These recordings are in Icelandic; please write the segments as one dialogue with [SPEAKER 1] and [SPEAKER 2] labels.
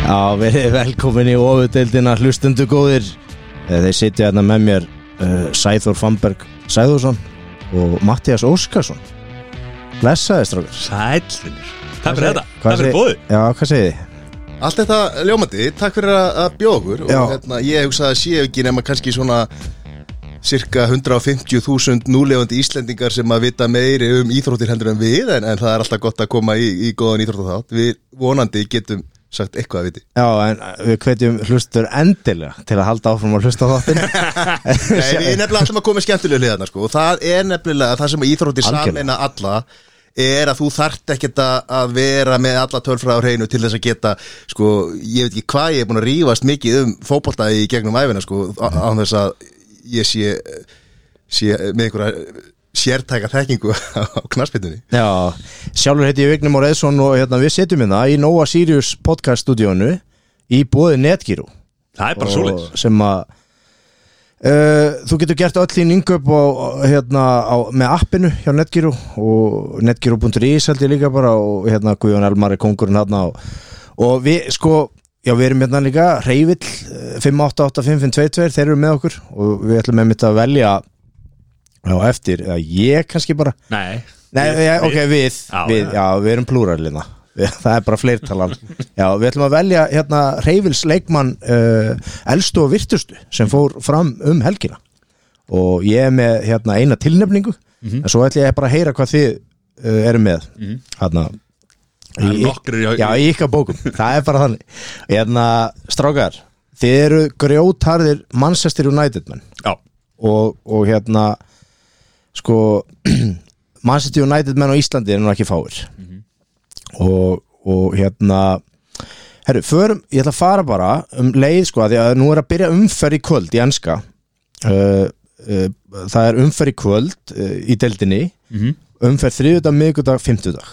[SPEAKER 1] Já, verið velkomin í ofudeildina hlustundu góðir Eh, Þeir sitja hérna með mér uh, Sæþór Fannberg Sæþórsson og Mattias Óskarsson Blessaði strókar
[SPEAKER 2] Sælfinir Takk fyrir
[SPEAKER 1] seg-
[SPEAKER 2] þetta,
[SPEAKER 1] hvað
[SPEAKER 2] takk fyrir
[SPEAKER 1] seg-
[SPEAKER 2] bóði
[SPEAKER 1] Já, hvað segið þið?
[SPEAKER 3] Allt þetta ljómandi, takk fyrir að að bjóða
[SPEAKER 1] Já.
[SPEAKER 3] okkur og hérna, ég hugsa að séu ekki nema kannski svona cirka 150.000 núlefandi Íslendingar sem að vita meiri um íþróttir hendur en við en, en það er alltaf gott að koma í, í góðan íþróttatátt við vonandi getum sagt eitthvað að viti
[SPEAKER 1] Já, en eh, við hvetjum hlustur endilega til að halda áfram að hlusta á þáttin
[SPEAKER 3] Nei, við erum nefnilega alltaf að koma skemmtilega hliðarna sko. og það er nefnilega það sem íþróttir
[SPEAKER 1] Algjörlega.
[SPEAKER 3] sameina alla er að þú þarft ekkert að- að vera með alla tölfræða á hreinu til þess að geta sko, ég veit ekki hvað ég er búin að rífast mikið um fótbolta í gegnum æfina sko, á- án þess að ég sé, sé með einhverja sértæka þekkingu á knarsbytunni
[SPEAKER 1] Já, sjálfur heiti ég Vignum og Reðsson og hérna við sitjum hérna í Nova Sirius podcast stúdíónu í bóði Netgyru
[SPEAKER 2] Það er bara
[SPEAKER 1] Og
[SPEAKER 2] svoleiðis
[SPEAKER 1] sem að uh, þú getur gert öll þín yngöp á, hérna, á, með appinu hjá Netgyru og netgyru.is held ég líka bara og hérna Guðjón Elmar er kongurinn hérna og, og við sko Já, við erum hérna líka, eh, Reyvill 5885522, þeir eru með okkur og við ætlum einmitt að velja á eftir, eða ég kannski bara
[SPEAKER 2] Nei,
[SPEAKER 1] Nei,
[SPEAKER 2] Við-
[SPEAKER 1] við, ok, við,
[SPEAKER 2] Já,
[SPEAKER 1] við
[SPEAKER 2] já.
[SPEAKER 1] já. við erum plúralina Það er bara fleirtalan Já, við ætlum að velja hérna Reyvils leikmann uh, elstu og virtustu sem fór fram um helgina og ég er með hérna eina tilnefningu
[SPEAKER 2] Mhm.
[SPEAKER 1] en svo ætlum ég bara að heyra hvað þið uh, eru með hérna
[SPEAKER 2] það er
[SPEAKER 1] í-
[SPEAKER 2] nokkrir í-
[SPEAKER 1] Já, í ykkar bókum, það er bara þannig Hérna, strákar Þið eru grjótarðir Manchester United menn
[SPEAKER 2] já,
[SPEAKER 1] og, og hérna sko Manchester United menn á Íslandi er nú ekki fáir og, og hérna herru, förum, ég ætla að fara bara um leið sko, af því að nú er að byrja umferð í kvöld í enska uh, uh, það er umferð í kvöld uh, í deildinni umferð þriðudag, miðgudag, fimmtudag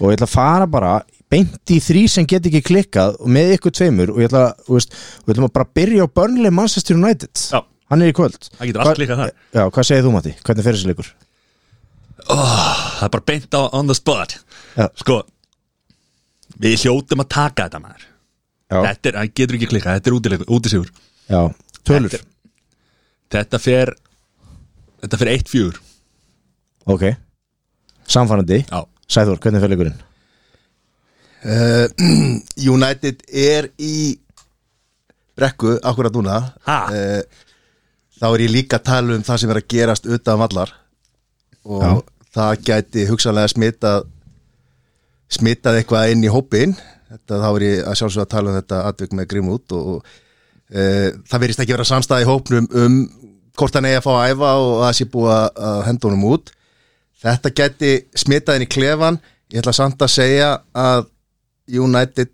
[SPEAKER 1] og ég ætla að fara bara beint í þrý sem get ekki klikkað og með ykkur tveimur og ég ætla, þú veist, og við ætlum að bara byrja á Burnley Manchester United
[SPEAKER 2] Já.
[SPEAKER 1] hann er í kvöld
[SPEAKER 2] það getur allt líka þar
[SPEAKER 1] Já, hvað segir þú Matti? Hvernig fer þessi leikur?
[SPEAKER 2] Það er bara beint á on the spot
[SPEAKER 1] Já.
[SPEAKER 2] Sko Við hljótum að taka þetta maður
[SPEAKER 1] Já,
[SPEAKER 2] Þetta er, það getur ekki klika, þetta er útilegur, útisigur
[SPEAKER 1] já tölur
[SPEAKER 2] Þetta, þetta fer Þetta fer 1-4
[SPEAKER 1] Ok, samfærandi
[SPEAKER 2] Já,
[SPEAKER 1] Sæður, hvernig fer leikurinn?
[SPEAKER 3] uh, United er í brekku akkurat núna
[SPEAKER 2] Ha?
[SPEAKER 3] Eh, þá er ég líka að tala um það sem er að gerast utan vallar og
[SPEAKER 1] Já.
[SPEAKER 3] það gæti hugsanlega smitað smitað eitthvað inn í hópin þetta, þá er ég að sjálfsög að tala um þetta atvik með grimm út og, og e, það verist ekki vera samstæði í hópnum um hvort hann eigi að fá að æfa og að það sé búið að- að henda honum út þetta gæti smitað inn í klefan ég ætla samt að segja að United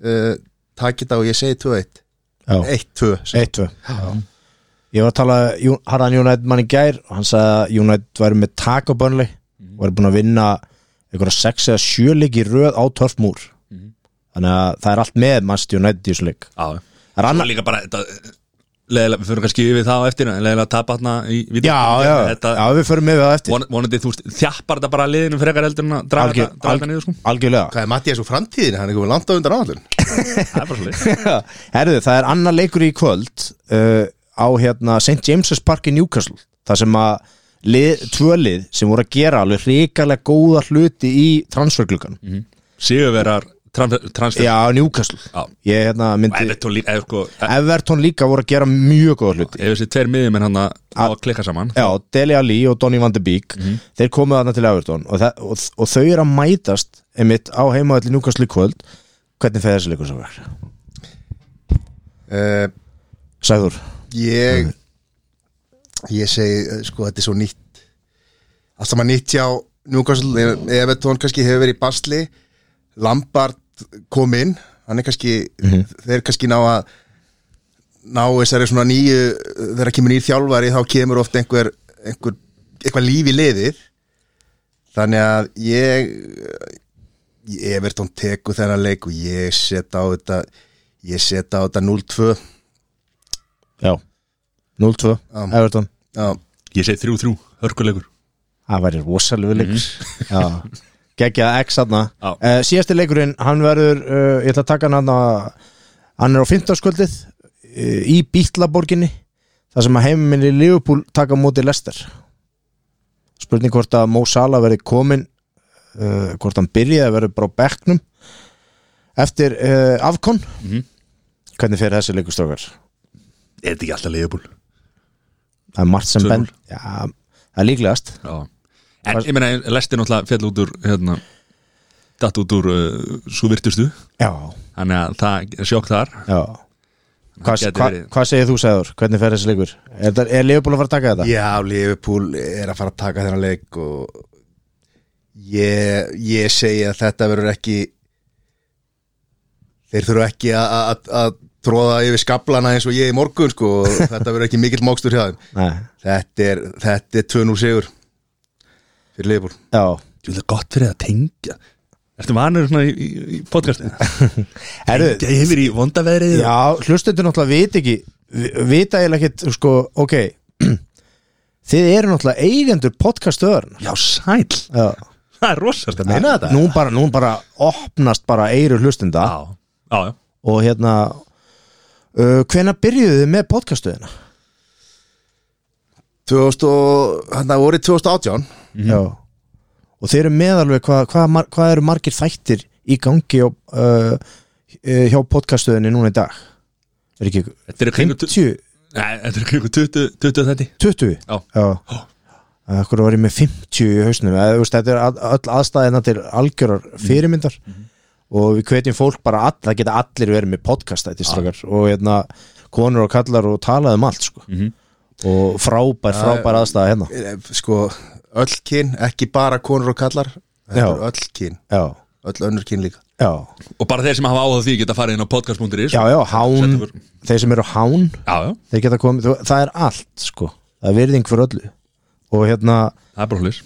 [SPEAKER 3] uh, taki þetta og ég segi 2-1
[SPEAKER 1] Já,
[SPEAKER 3] 1-2 segi ég.
[SPEAKER 1] 1-2 Ég var að tala Jú- Harðan United mann í gær og hann sagði að United væri með tak á bönli
[SPEAKER 2] Mhm.
[SPEAKER 1] og er búin að vinna einhverja 6 eða 7 leik í röð á törfmúr
[SPEAKER 2] Mhm.
[SPEAKER 1] Þannig að það er allt með Manchester United í þessu leik
[SPEAKER 2] já
[SPEAKER 1] Það er
[SPEAKER 2] Svo
[SPEAKER 1] annar
[SPEAKER 2] líka bara þetta, leðilega, Við fyrir kannski yfir það á eftir en Leðilega að tapa hana í
[SPEAKER 1] Já, já,
[SPEAKER 2] þetta,
[SPEAKER 1] já, við förum með það eftir
[SPEAKER 2] von, vonandi þú veist, þjappar þetta bara að liðinu frekar heldur en að draga
[SPEAKER 1] Algjör-
[SPEAKER 2] þetta- draga þetta niður sko
[SPEAKER 1] Algjörlega
[SPEAKER 3] Hvað er Mattias úr framtíðin? Hann er komið langt á undan áallun
[SPEAKER 2] Það er bara svolítið
[SPEAKER 1] Herðu, það er annar leikur í kvöld uh, á hérna St. James's Park í Newcastle þar sem að lið, tvölið sem voru að gera alveg hrikalega góða hluti í transfergluggan
[SPEAKER 2] Mhm. Sigurverar transfer, transfer.
[SPEAKER 1] Já, Newcastle
[SPEAKER 2] Já.
[SPEAKER 1] Ég hérna
[SPEAKER 2] Og
[SPEAKER 1] myndi
[SPEAKER 2] Everton líka, eða sko e-
[SPEAKER 1] Everton líka voru að gera mjög góða hluti
[SPEAKER 2] Ef þessi tveir miðjum en hann að ná að klikka saman
[SPEAKER 1] Já, Dele Alli og Donny van de Beek
[SPEAKER 2] Mhm.
[SPEAKER 1] þeir komu þarna til Everton og, það, og, og þau eru að mætast einmitt á heimaðalli Newcastle í kvöld Hvernig feði þessi leikur sem var?
[SPEAKER 3] uh,
[SPEAKER 1] Sæður
[SPEAKER 3] Ég Ég segi, eh, sko, þetta er svo nýtt Allt saman nýtt hjá Newcastle, eh, Everton kannski hefur verið í basli Lampard kom inn Hann er kannski, þeir kannski ná að Ná þessari svona nýju eh, Þegar kemur nýr þjálfari Þá kemur oft einhver, einhver Eitthvað líf í liðið Þannig að ég ég- Everton teku þennan leik og ég set á þetta ég set á þetta 0-2
[SPEAKER 1] Já 0-2,
[SPEAKER 3] Já.
[SPEAKER 1] Everton
[SPEAKER 3] Já,
[SPEAKER 2] Ég segi 3-3, hörkulegur
[SPEAKER 1] Það væri rosalegu leikur Já, geggjaða X Eh, hann
[SPEAKER 2] Mhm. Já.
[SPEAKER 1] eh, uh, Síðasti leikurinn, hann verður uh, Ég ætla að taka hann hann hann er á 15. skuldið í Bítlaborginni þar sem að heiminni Liverpool taka á móti Lester spurning hvort að Mo Salah verði komin uh, hvort hann byrjaði að verði bara á bekknum eftir uh, Afkon
[SPEAKER 2] Mhm.
[SPEAKER 1] hvernig fer þessi leikustrákar
[SPEAKER 2] Er þetta ekki alltaf leifbúl?
[SPEAKER 1] það er margt sem
[SPEAKER 2] Tvö núll.
[SPEAKER 1] bend já, það er líklegast
[SPEAKER 2] Já En ég meina, lestir náttúrulega fjall út úr hérna, datt út úr uh, svo virtustu
[SPEAKER 1] já,
[SPEAKER 2] Þannig að það er sjokk þar
[SPEAKER 1] já Hvað
[SPEAKER 2] gæti
[SPEAKER 1] hva,
[SPEAKER 2] verið.
[SPEAKER 1] hva segir þú, Sæður? Hvernig fer þessi leikur? Er, það- er Leopold að fara að taka þetta?
[SPEAKER 3] Já, Liverpool er að fara að taka þennan leik og ég, ég segi að þetta verður ekki þeir þurfa ekki að- að að tróða yfir skablana eins og ég í morgun sko, og þetta verður ekki mikill mókstur hjá þeim
[SPEAKER 1] Nei,
[SPEAKER 3] þetta er, þetta er 2-0 sigur fyrir Liverpool
[SPEAKER 1] já
[SPEAKER 2] Þú veist það gott fyrir að tengja Ertu vanur svona í, í, í podcastin?
[SPEAKER 1] Herru,
[SPEAKER 2] Ég hefur í vondaveðrið
[SPEAKER 1] Já, hlustendur náttúrulega vit ekki vi- vita eiginlega ekkit, sko, ok þið eru náttúrulega eigendur podcastöðurinn
[SPEAKER 2] Já, sæl
[SPEAKER 1] Já.
[SPEAKER 2] Það er rosalegt að
[SPEAKER 3] meina þetta?
[SPEAKER 1] Nú bara, nú bara opnast bara eiru hlustenda
[SPEAKER 2] Já, já, já
[SPEAKER 1] og hérna uh, hvenær byrjuðu þið með podcastöðina?
[SPEAKER 3] 2000 og, hann það voru 2018
[SPEAKER 1] Já Mhm. og þeir eru meðalveg hvað hva, hva hvað eru margir þættir í gangi á, uh, uh, hjá podcastöðinni núna í dag er ekki
[SPEAKER 2] Þetta er kringu 20
[SPEAKER 1] 50,
[SPEAKER 2] Nei, þetta er kringu 20, 20 þetta
[SPEAKER 1] 20
[SPEAKER 2] Já.
[SPEAKER 1] já. Eh, Akkur var ég með 50 í hausnum Eða, þú veist, Þetta er all- öll aðstæðina til algjörar fyrirmyndar og við hvetjum fólk bara all, það geta allir verið með podcast þetta strákar og hérna konur og kallar og talað um allt sko. og frábær, frábær aðstæða hérna
[SPEAKER 3] Eh, sko, öll kyn, ekki bara konur og kallar þetta
[SPEAKER 1] Já.
[SPEAKER 3] er öll kyn,
[SPEAKER 1] Já,
[SPEAKER 3] öll önnur kyn líka
[SPEAKER 1] já,
[SPEAKER 2] Og bara þeir sem hafa áhuga á því geta farið inn á podcast.is
[SPEAKER 1] já, já, hán
[SPEAKER 2] Settu fyrir-
[SPEAKER 1] þeir sem eru hán,
[SPEAKER 2] já, já,
[SPEAKER 1] þeir geta komið þú- það er allt, sko, það er virðing fyrir öllu og hérna
[SPEAKER 2] það er bara hlis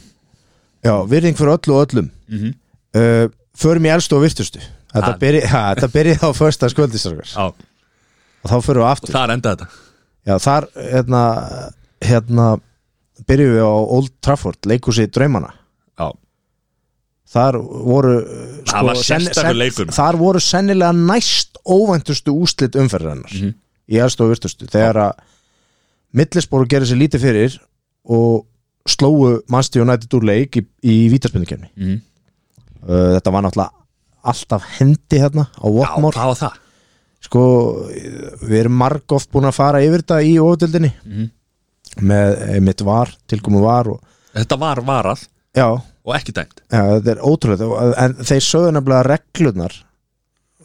[SPEAKER 1] Já, virðing fyrir öllu og öllum mm -hmm. uh, Förum í elstu og virtustu Þetta
[SPEAKER 2] Ha.
[SPEAKER 1] byrja- ha, þetta byrjaði á första sköldisarkar
[SPEAKER 2] Já,
[SPEAKER 1] og þá förum við aftur
[SPEAKER 2] það er enda þetta
[SPEAKER 1] Já, þar hérna, hérna byrjuðum við á Old Trafford leikhúsi draumana
[SPEAKER 2] Já,
[SPEAKER 1] Þar voru uh,
[SPEAKER 2] Það var sérstakur leikur.
[SPEAKER 1] Þar voru sennilega næst óvæntustu úslit umferðarinnar
[SPEAKER 2] Mhm.
[SPEAKER 1] í elstu og virtustu þegar að Millisbóru gerði sér lítið fyrir og slóu Manchester United úr leik í, í vítaspindukefni
[SPEAKER 2] mm.
[SPEAKER 1] Uh, þetta var náttúrulega alltaf hendi hérna á
[SPEAKER 2] já
[SPEAKER 1] Watmore
[SPEAKER 2] það var það
[SPEAKER 1] sko, við erum marg oft búin að fara yfir þetta í óvöldildinni
[SPEAKER 2] Mhm.
[SPEAKER 1] með mitt var, tilkomu var og,
[SPEAKER 2] Þetta var varað
[SPEAKER 1] já,
[SPEAKER 2] og ekki dæmt
[SPEAKER 1] já, þetta er ótrúlega og- en þeir sögðu nefnilega að reglurnar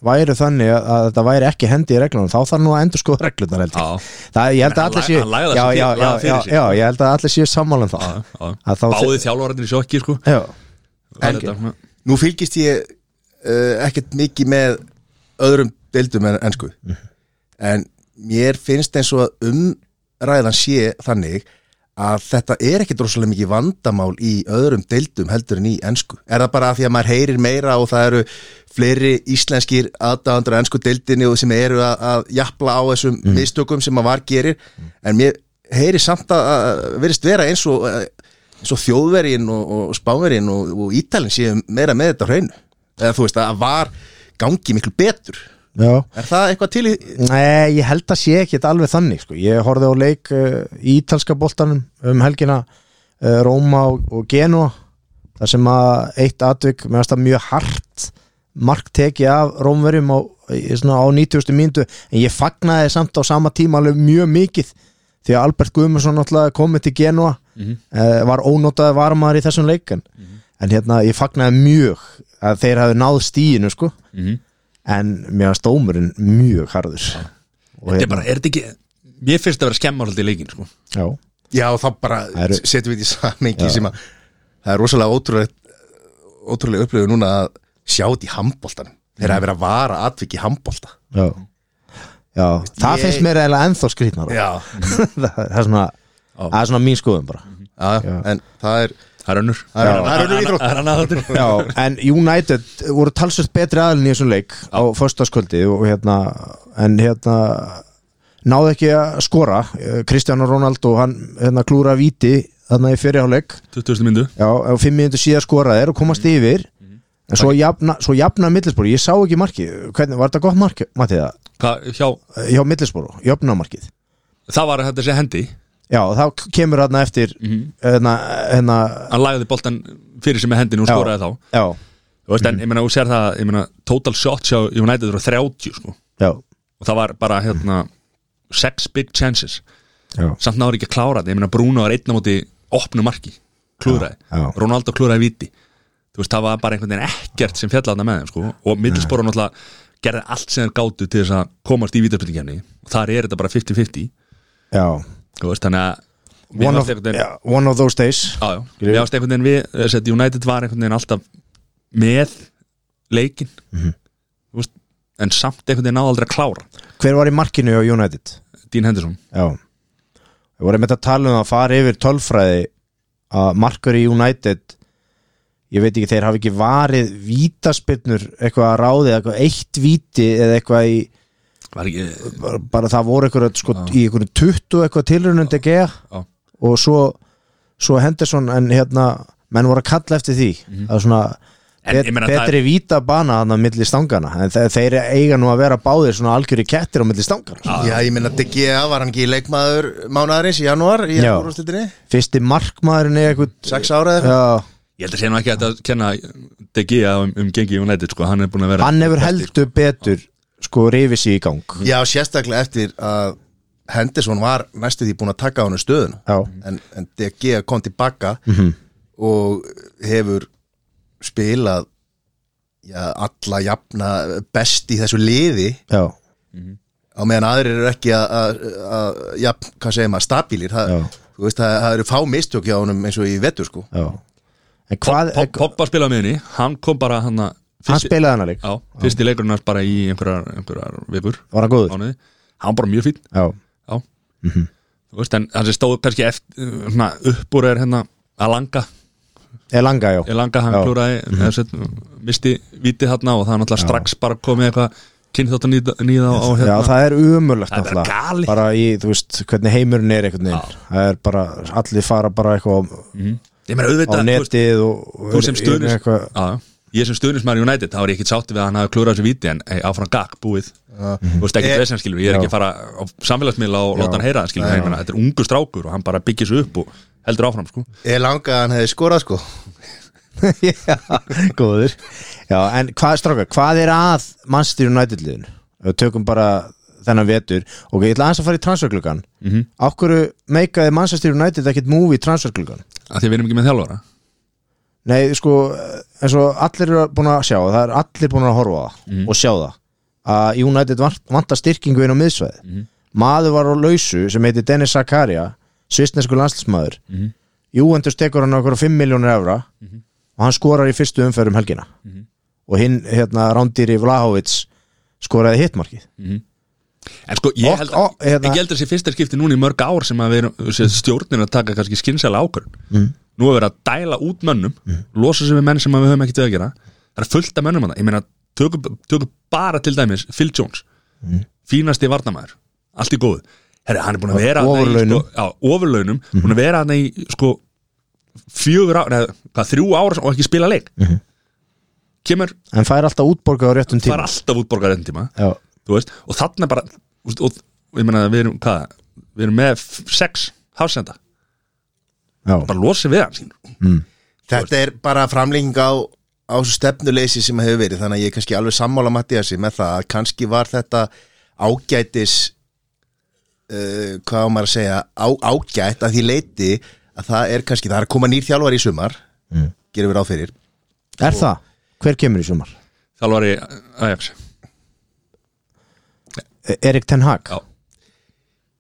[SPEAKER 1] væru þannig að, að þetta væri ekki hendi í reglunum, þá þarf nú að endur skoða reglurnar held ég,
[SPEAKER 2] Já,
[SPEAKER 1] það, ég held að
[SPEAKER 2] Hann
[SPEAKER 1] allir
[SPEAKER 2] lag-
[SPEAKER 1] séu
[SPEAKER 2] hann lagði það
[SPEAKER 1] já, já,
[SPEAKER 2] sem fyrir-
[SPEAKER 1] já,
[SPEAKER 2] lagði það
[SPEAKER 1] já,
[SPEAKER 2] fyrir sig.
[SPEAKER 1] já, ég held að allir séu sammála um
[SPEAKER 2] já,
[SPEAKER 1] það
[SPEAKER 2] já.
[SPEAKER 1] Að þá-
[SPEAKER 2] Báði þjálfararnir í sjokki sko
[SPEAKER 1] já,
[SPEAKER 2] Það
[SPEAKER 3] En-
[SPEAKER 2] er þetta, svona-
[SPEAKER 3] Nú fylgist ég uh, ekkert mikið með öðrum deildum en ennsku en mér finnst eins og að umræðan sé þannig að þetta er ekkert rosalega mikið vandamál í öðrum deildum heldur en í ennsku. Er það bara af því að maður heyrir meira og það eru fleiri íslenskir aðdáðandur á ennsku deildinni og sem eru að, að japla á þessum mistökum sem maður var gerir en mér heyrir samt að, að verist vera eins og eh, eins og þjóðverjinn og, og spánverjinn og, og ítalinn séu meira með þetta á hreinu eða þú veist að var gangi miklu betur
[SPEAKER 1] já
[SPEAKER 3] er það eitthvað til í
[SPEAKER 1] Nei, ég held að sé ekki þetta alveg þannig sko. Ég horfði á leik uh, í ítalska boltanum um helgina uh, Róma og, og Genoa þar sem að eitt atvik með þetta mjög hart mark tekið af Rómverjum á, í svona, á 90. mínútu en ég fagnaði samt á sama tíma alveg mjög mikið því að Albert Guðmundsson náttúrulega komið til Genoa mm var ónótaði varmaður í þessum leikin en hérna ég fagnaði mjög að þeir hafi náð stíinu sko
[SPEAKER 2] Mhm.
[SPEAKER 1] en mér var stómurinn mjög harður og hérna-
[SPEAKER 2] Þetta er bara, er þetta ekki Mér finnst að vera skemmarhaldi í leikin sko
[SPEAKER 1] já,
[SPEAKER 3] já þá bara
[SPEAKER 1] Það eru-
[SPEAKER 3] setjum við því samengi sem að það er rosalega ótrúlega ótrúlega upplöfu núna að sjá þetta í handbóltanum þeir hafa verið að vara atvik í handbólta
[SPEAKER 1] já. já. það
[SPEAKER 3] Ég-
[SPEAKER 1] finnst mér eiginlega ennþá skrýtnar
[SPEAKER 3] já,
[SPEAKER 1] það það er svona það er svona mín skoðum bara
[SPEAKER 3] já, en það er
[SPEAKER 2] Það er önnur
[SPEAKER 3] það er- það er önnur íþrótt.
[SPEAKER 2] Það er annað þáttur
[SPEAKER 1] já, en United voru talsvöld betri aðlun í þessum leik á föstaskvöldi og hérna en hérna náði ekki að skora Kristján Ronaldo, hann hérna klúra víti þarna í fyrirháleik
[SPEAKER 2] 2000 myndu
[SPEAKER 1] Já, og fimm mínútur síðar skoraði er og komast yfir en svo jafna, svo jafna millisbúri, ég sá ekki marki, hvernig, var þetta gott marki, Matti það?
[SPEAKER 2] Hvað, hjá,
[SPEAKER 1] hjá millisporu, jöfnumarkið
[SPEAKER 2] það var þetta sé hendi
[SPEAKER 1] Já, og þá kemur hann eftir hérna, hérna
[SPEAKER 2] Hann lagði boltan fyrir sem með hendinu og
[SPEAKER 1] Já.
[SPEAKER 2] skoraði þá
[SPEAKER 1] Já,
[SPEAKER 2] Þú veist, en ég meina, þú sér það, ég meina Total shots hjá United eru 30, sko
[SPEAKER 1] já,
[SPEAKER 2] Og það var bara, hérna Sex big chances
[SPEAKER 1] já
[SPEAKER 2] Samt náður ekki að klára þetta, ég meina Bruno var einn á móti Opnu marki, klúraði
[SPEAKER 1] Já, já.
[SPEAKER 2] Ronaldo klúraði viti Þú veist, það var bara einhvern veginn ekkert sem fjallaðna með þeim, sko Og middilsporu náttúrulega gerði allt sem þeir gátu til þess að komast í vítarspiltingjarni og þar er þetta bara 50-50
[SPEAKER 1] já.
[SPEAKER 2] Þú veist, þannig að
[SPEAKER 1] One,
[SPEAKER 2] Mér fannst
[SPEAKER 1] of,
[SPEAKER 2] einhvern veginn-
[SPEAKER 1] já, one of those days
[SPEAKER 2] Já, já,
[SPEAKER 1] Skilur.
[SPEAKER 2] ég ást einhvern veginn við þess að United var einhvern veginn alltaf með leikin mm veist, en samt einhvern veginn náði aldrei að klára
[SPEAKER 1] Hver var í markinu á United?
[SPEAKER 2] Dean Henderson
[SPEAKER 1] Já Við vorum með að tala um að fara yfir tölfræði að markur í United ég veit ekki, þeir hafi ekki varið vítaspyrnur eitthvað að ráði eða eitthvað eitt víti eða eitthvað í
[SPEAKER 2] var ekki,
[SPEAKER 1] bara, bara það voru eitthvað sko, í eitthvað 20 eitthvað tilrunum DG
[SPEAKER 2] Já.
[SPEAKER 1] og svo, svo Henderson en hérna, menn voru að kalla eftir því það er svona
[SPEAKER 2] Mhm. En
[SPEAKER 1] bet,
[SPEAKER 2] ég meina, það
[SPEAKER 1] betri víta bana hann að milli stangana en þe þeir eiga nú að vera báðir svona algjöri kettir á milli stangana sko.
[SPEAKER 3] Já, ég minna DGA var hann ekki leikmaður mánaðarins í janúar í
[SPEAKER 1] Já.
[SPEAKER 3] úrústildinni
[SPEAKER 1] fyrsti markmaðurinn er eitthvað
[SPEAKER 3] sex ára eða
[SPEAKER 1] já,
[SPEAKER 2] ég held að segja nú ekki að þetta kenna De Gea um, um gengi í United sko, hann er búin að vera
[SPEAKER 1] hann hefur heldur betur sko rifið sér í gang
[SPEAKER 3] Já, sérstaklega eftir að Henderson var næstu því búin að taka á hann stöðun
[SPEAKER 1] já,
[SPEAKER 3] en, en DG kom tilbaka mm -hmm. og hefur spilað já, alla jafna best í þessu liði
[SPEAKER 1] já,
[SPEAKER 3] á meðan aðrir eru ekki að- að að- jafn, hvað segir maður, stabílir það,
[SPEAKER 1] Já.
[SPEAKER 3] þú veist, það, það eru fá mistök hjá honum eins og í vetur sko
[SPEAKER 1] já en hvað,
[SPEAKER 2] Pop- Poppa spilaði með henni, hann kom bara hann að
[SPEAKER 1] hann
[SPEAKER 2] fyrsti,
[SPEAKER 1] spilaði hann að leik
[SPEAKER 2] já, fyrsti leikurinn hans bara í einhverjar, einhverjar vikur
[SPEAKER 1] var hann góður,
[SPEAKER 2] ánuði, hann var bara mjög fín
[SPEAKER 1] já,
[SPEAKER 2] já Mhm. þú veist, en hann sem stóð kannski eftir, svona, uppur er hérna að langa
[SPEAKER 1] er langa já,
[SPEAKER 2] Elanga hann
[SPEAKER 1] Já.
[SPEAKER 2] klúraði eða sett, misti vitið þarna og það er náttúrulega strax bara komið eitthvað kynþáttan nýða á
[SPEAKER 1] já
[SPEAKER 2] hérna
[SPEAKER 1] það er umulagt
[SPEAKER 2] Það er bara galið.
[SPEAKER 1] bara í, þú veist, hvernig heimurinn er einhvern veginn, það er bara allir fara bara eitthvað á,
[SPEAKER 2] ég meina
[SPEAKER 1] á
[SPEAKER 2] auðvitað Mm. þú veist,
[SPEAKER 1] netið og, og
[SPEAKER 2] þú sem
[SPEAKER 1] eru
[SPEAKER 2] stuðnist
[SPEAKER 1] eitthvað,
[SPEAKER 2] Já, já. ég sem stuðnismæri United þá er ég ekkit sátti við að hann hafi klúrað þessu viti en ei, áfram gag búið þú veist ekki
[SPEAKER 3] Eh,
[SPEAKER 2] þessan skilur ég er ekki að fara á samfélagsmiðla og láta hann heyra það skilur ég meina þetta er ungu strákur og hann bara byggir svo upp og heldur áfram sko
[SPEAKER 3] eða langa að hann hefði skorað sko
[SPEAKER 1] já, góður já, en hvað stráka, hvað er að Manchester United liðinu, Ef við tökum bara þennan vetur, ok, ég ætla aðeins að fara í transferklukkan, mm
[SPEAKER 2] Mhm.
[SPEAKER 1] -hmm. okkur meikaði Manchester United ekkert múvi í transferklukkan
[SPEAKER 2] að því að við erum ekki með þjálfara
[SPEAKER 1] Nei, sko, eins og allir eru búin að sjá, það er allir búin að horfa á það og sjá það að United vant- vantar styrkingu inn á miðsvæði maður var á lausu sem heiti Dennis Zakaria, svistnesku landslismæður mm. Juventus tekur hann okkur 5 miljónir evra og hann skorar í fyrstu umferð um helgina og hinn, hérna, Rándýri Vlahovic skoraði hittmarkið
[SPEAKER 2] En sko, ég
[SPEAKER 1] Og-
[SPEAKER 2] held,
[SPEAKER 1] og, hérna-
[SPEAKER 2] ég held að þessi fyrsta skipti núna í mörg ár sem að við erum sem stjórnin að taka kannski skynsæla ákvörn mm. Nú er verið að dæla út mönnum
[SPEAKER 1] Mm.
[SPEAKER 2] losa sig við menn sem að við höfum ekki til að gera Það er fullt af mönnum að það, ég meina tökum, tökum bara til dæmis Phil Jones
[SPEAKER 1] Mm.
[SPEAKER 2] fínasti varnamæður allt í góðu, herri, hann er búin að vera þarna í,
[SPEAKER 1] Ofurlaunum. Mm-hmm.
[SPEAKER 2] sko, já, ofurlaunum, búin að vera hann í sko fjögur ára, neð, hvað, þrjú ára og ekki spila leik kemur,
[SPEAKER 1] en fær alltaf útborgað á réttum Mm-hmm.
[SPEAKER 2] það er
[SPEAKER 1] tíma
[SPEAKER 2] alltaf útborgar enn tíma
[SPEAKER 1] Já,
[SPEAKER 2] þú veist, og þarna bara þú veist, og, og ég meina við erum hvað við erum með f- sex hafsenda
[SPEAKER 1] já,
[SPEAKER 2] bara losið við hann sín
[SPEAKER 3] þetta er bara framlenging á á þessu stefnuleysi sem hefur verið þannig að ég er kannski alveg sammála Mattiasi með það að kannski var þetta ágætis uh, hvað á maður að segja á, ágætt að því leiti að það er kannski, það er að koma nýr þjálfar í sumar gerum við ráð fyrir
[SPEAKER 1] er það? Hver kemur í sumar?
[SPEAKER 2] þjálfari Ajax
[SPEAKER 1] E- Erik Ten Hag?
[SPEAKER 2] Já.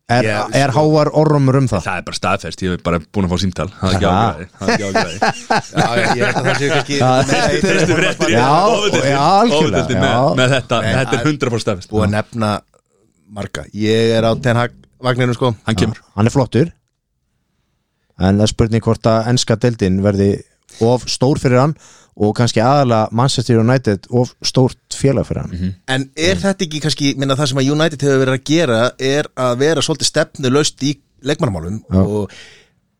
[SPEAKER 1] Er,
[SPEAKER 3] Já,
[SPEAKER 1] er hávar orrumur um það?
[SPEAKER 2] það er bara staðfest, ég hef bara búin að fá símtal það er ekki
[SPEAKER 1] Ha.
[SPEAKER 2] ágræði það er ekki ágræði
[SPEAKER 3] Já, ég held að það séu kannski Nei,
[SPEAKER 2] fyrstu fréttir
[SPEAKER 1] Já, já, algjörlega,
[SPEAKER 2] ofvöldeldi
[SPEAKER 1] já.
[SPEAKER 2] með, með þetta
[SPEAKER 3] Nei,
[SPEAKER 2] þetta er
[SPEAKER 3] að-
[SPEAKER 2] 100% staðfest
[SPEAKER 3] búið að nefna marga ég er á Ten Hag vagninu sko
[SPEAKER 2] hann kemur
[SPEAKER 1] hann er flottur en það er spurning hvort að ennska deildin verði of stór fyrir hann og kannski aðalega Manchester United of stórt félag fyrir hann
[SPEAKER 2] Mhm.
[SPEAKER 3] en er þetta ekki kannski, minna það sem að United hefur verið að gera er að vera svolítið stefnulaust í leikmannamálum og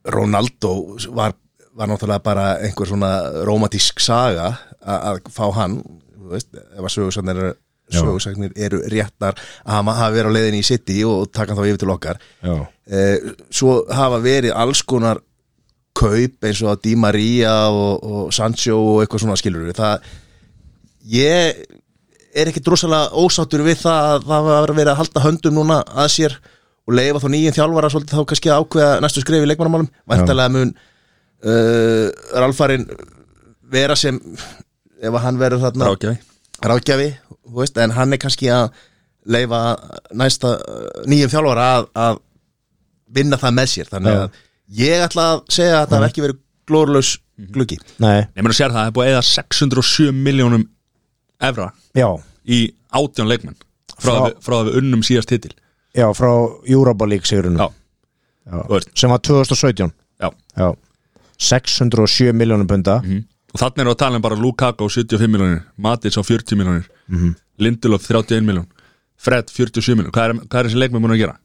[SPEAKER 3] Ronaldo var, var náttúrulega bara einhver svona romantísk saga a- að fá hann þú veist, ef að sögursannir
[SPEAKER 1] Já.
[SPEAKER 3] sögursagnir eru réttar að hann hafa verið á leiðinni í City og taka hann þá yfir til okkar
[SPEAKER 1] já,
[SPEAKER 3] eh, svo hafa verið alls konar kaup eins og að Di Maria og, og Sancho og eitthvað svona skilur það ég er ekkit rosalega ósáttur við það að það var verið að halda höndum núna að sér og leifa þá nýjum þjálfara svolítið þá kannski að ákveða næstu skref í leikmannamálum væntalega mun uh, Ralfarin vera sem ef að hann verður þarna
[SPEAKER 2] rákjaði
[SPEAKER 3] ráðgjafi þú veist, en hann er kannski að leifa næsta uh, nýjum þjálfara að, að vinna það með sér þannig
[SPEAKER 1] Já.
[SPEAKER 3] að ég ætla að segja að það
[SPEAKER 2] Mhm.
[SPEAKER 3] hef ekki verið glórlaus gluggi
[SPEAKER 1] nei,
[SPEAKER 2] Nei, menn að sér það, það er búið að eða 607 miljónum evra
[SPEAKER 1] já
[SPEAKER 2] í átján leikmenn frá,
[SPEAKER 1] Frá-
[SPEAKER 2] frá. Við, frá að við unnum síðast titil
[SPEAKER 1] já, frá Europa League sigurinn
[SPEAKER 2] Já, þú veist,
[SPEAKER 1] sem var 2017
[SPEAKER 2] já
[SPEAKER 1] já, 607 miljónum punda
[SPEAKER 2] mhm. Og þannig erum við að tala um bara Lukaku á 75 miljónir Matis á 40 miljónir mm. Lindelof 31 miljón Fred 47 miljón, hvað er, hvað er þessi leikmenn búin að gera?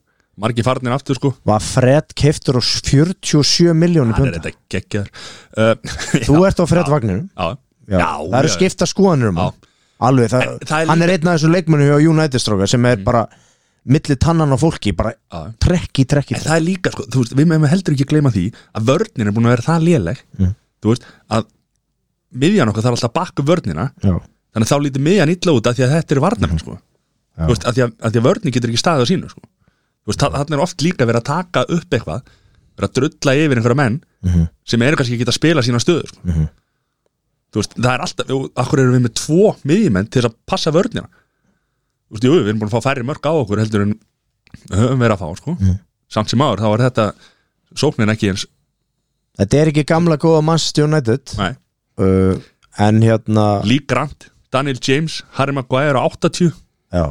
[SPEAKER 2] Margi farnir aftur sko
[SPEAKER 1] var Fred keiftur á 47 miljónum
[SPEAKER 2] Hann er
[SPEAKER 1] punda
[SPEAKER 2] þetta geggjaður uh,
[SPEAKER 1] þú ert á Fred Vagnir
[SPEAKER 2] Já,
[SPEAKER 1] já, það eru
[SPEAKER 2] já.
[SPEAKER 1] skipta skoðanur um
[SPEAKER 2] Já.
[SPEAKER 1] hann. alveg, það,
[SPEAKER 2] En Eh, það er Mm.
[SPEAKER 1] hann er einn af þessum leikmennu hjá United stróka sem er bara milli tannan á fólki, bara
[SPEAKER 2] Já.
[SPEAKER 1] trekki, trekki,
[SPEAKER 2] En það er líka, sko, þú veist, við meðum heldur ekki gleyma því að vörnin er búin að vera það léleg þú veist, að miðjan okkar þarf alltaf að bakka upp vörnina
[SPEAKER 1] já,
[SPEAKER 2] þannig að þá lítur miðjan illa út af því að þetta er varnar sko.
[SPEAKER 1] Já.
[SPEAKER 2] þú veist, að því að, að því að vörnin getur ekki staðið á sínu sko. þú veist, þannig er oft líka verið að taka upp eitthvað verið að drulla yfir einhverja menn sem eru kannski ekki að spila sína stöðu sko. þú veist, það er alltaf jú, akkur erum við með tvo miðjumenn til þess að passa vörnina þú veist, jú, við erum búin að fá færri mörg á okkur heldur en við höfum verið að fá sko. samt sem áður, þá var þetta sóknin ekki eins,
[SPEAKER 1] þetta er ekki gamla góða Manchester United
[SPEAKER 2] nei,
[SPEAKER 1] uh, en hérna
[SPEAKER 2] Lee Grant Daniel James, Harry Maguire á 80
[SPEAKER 1] já,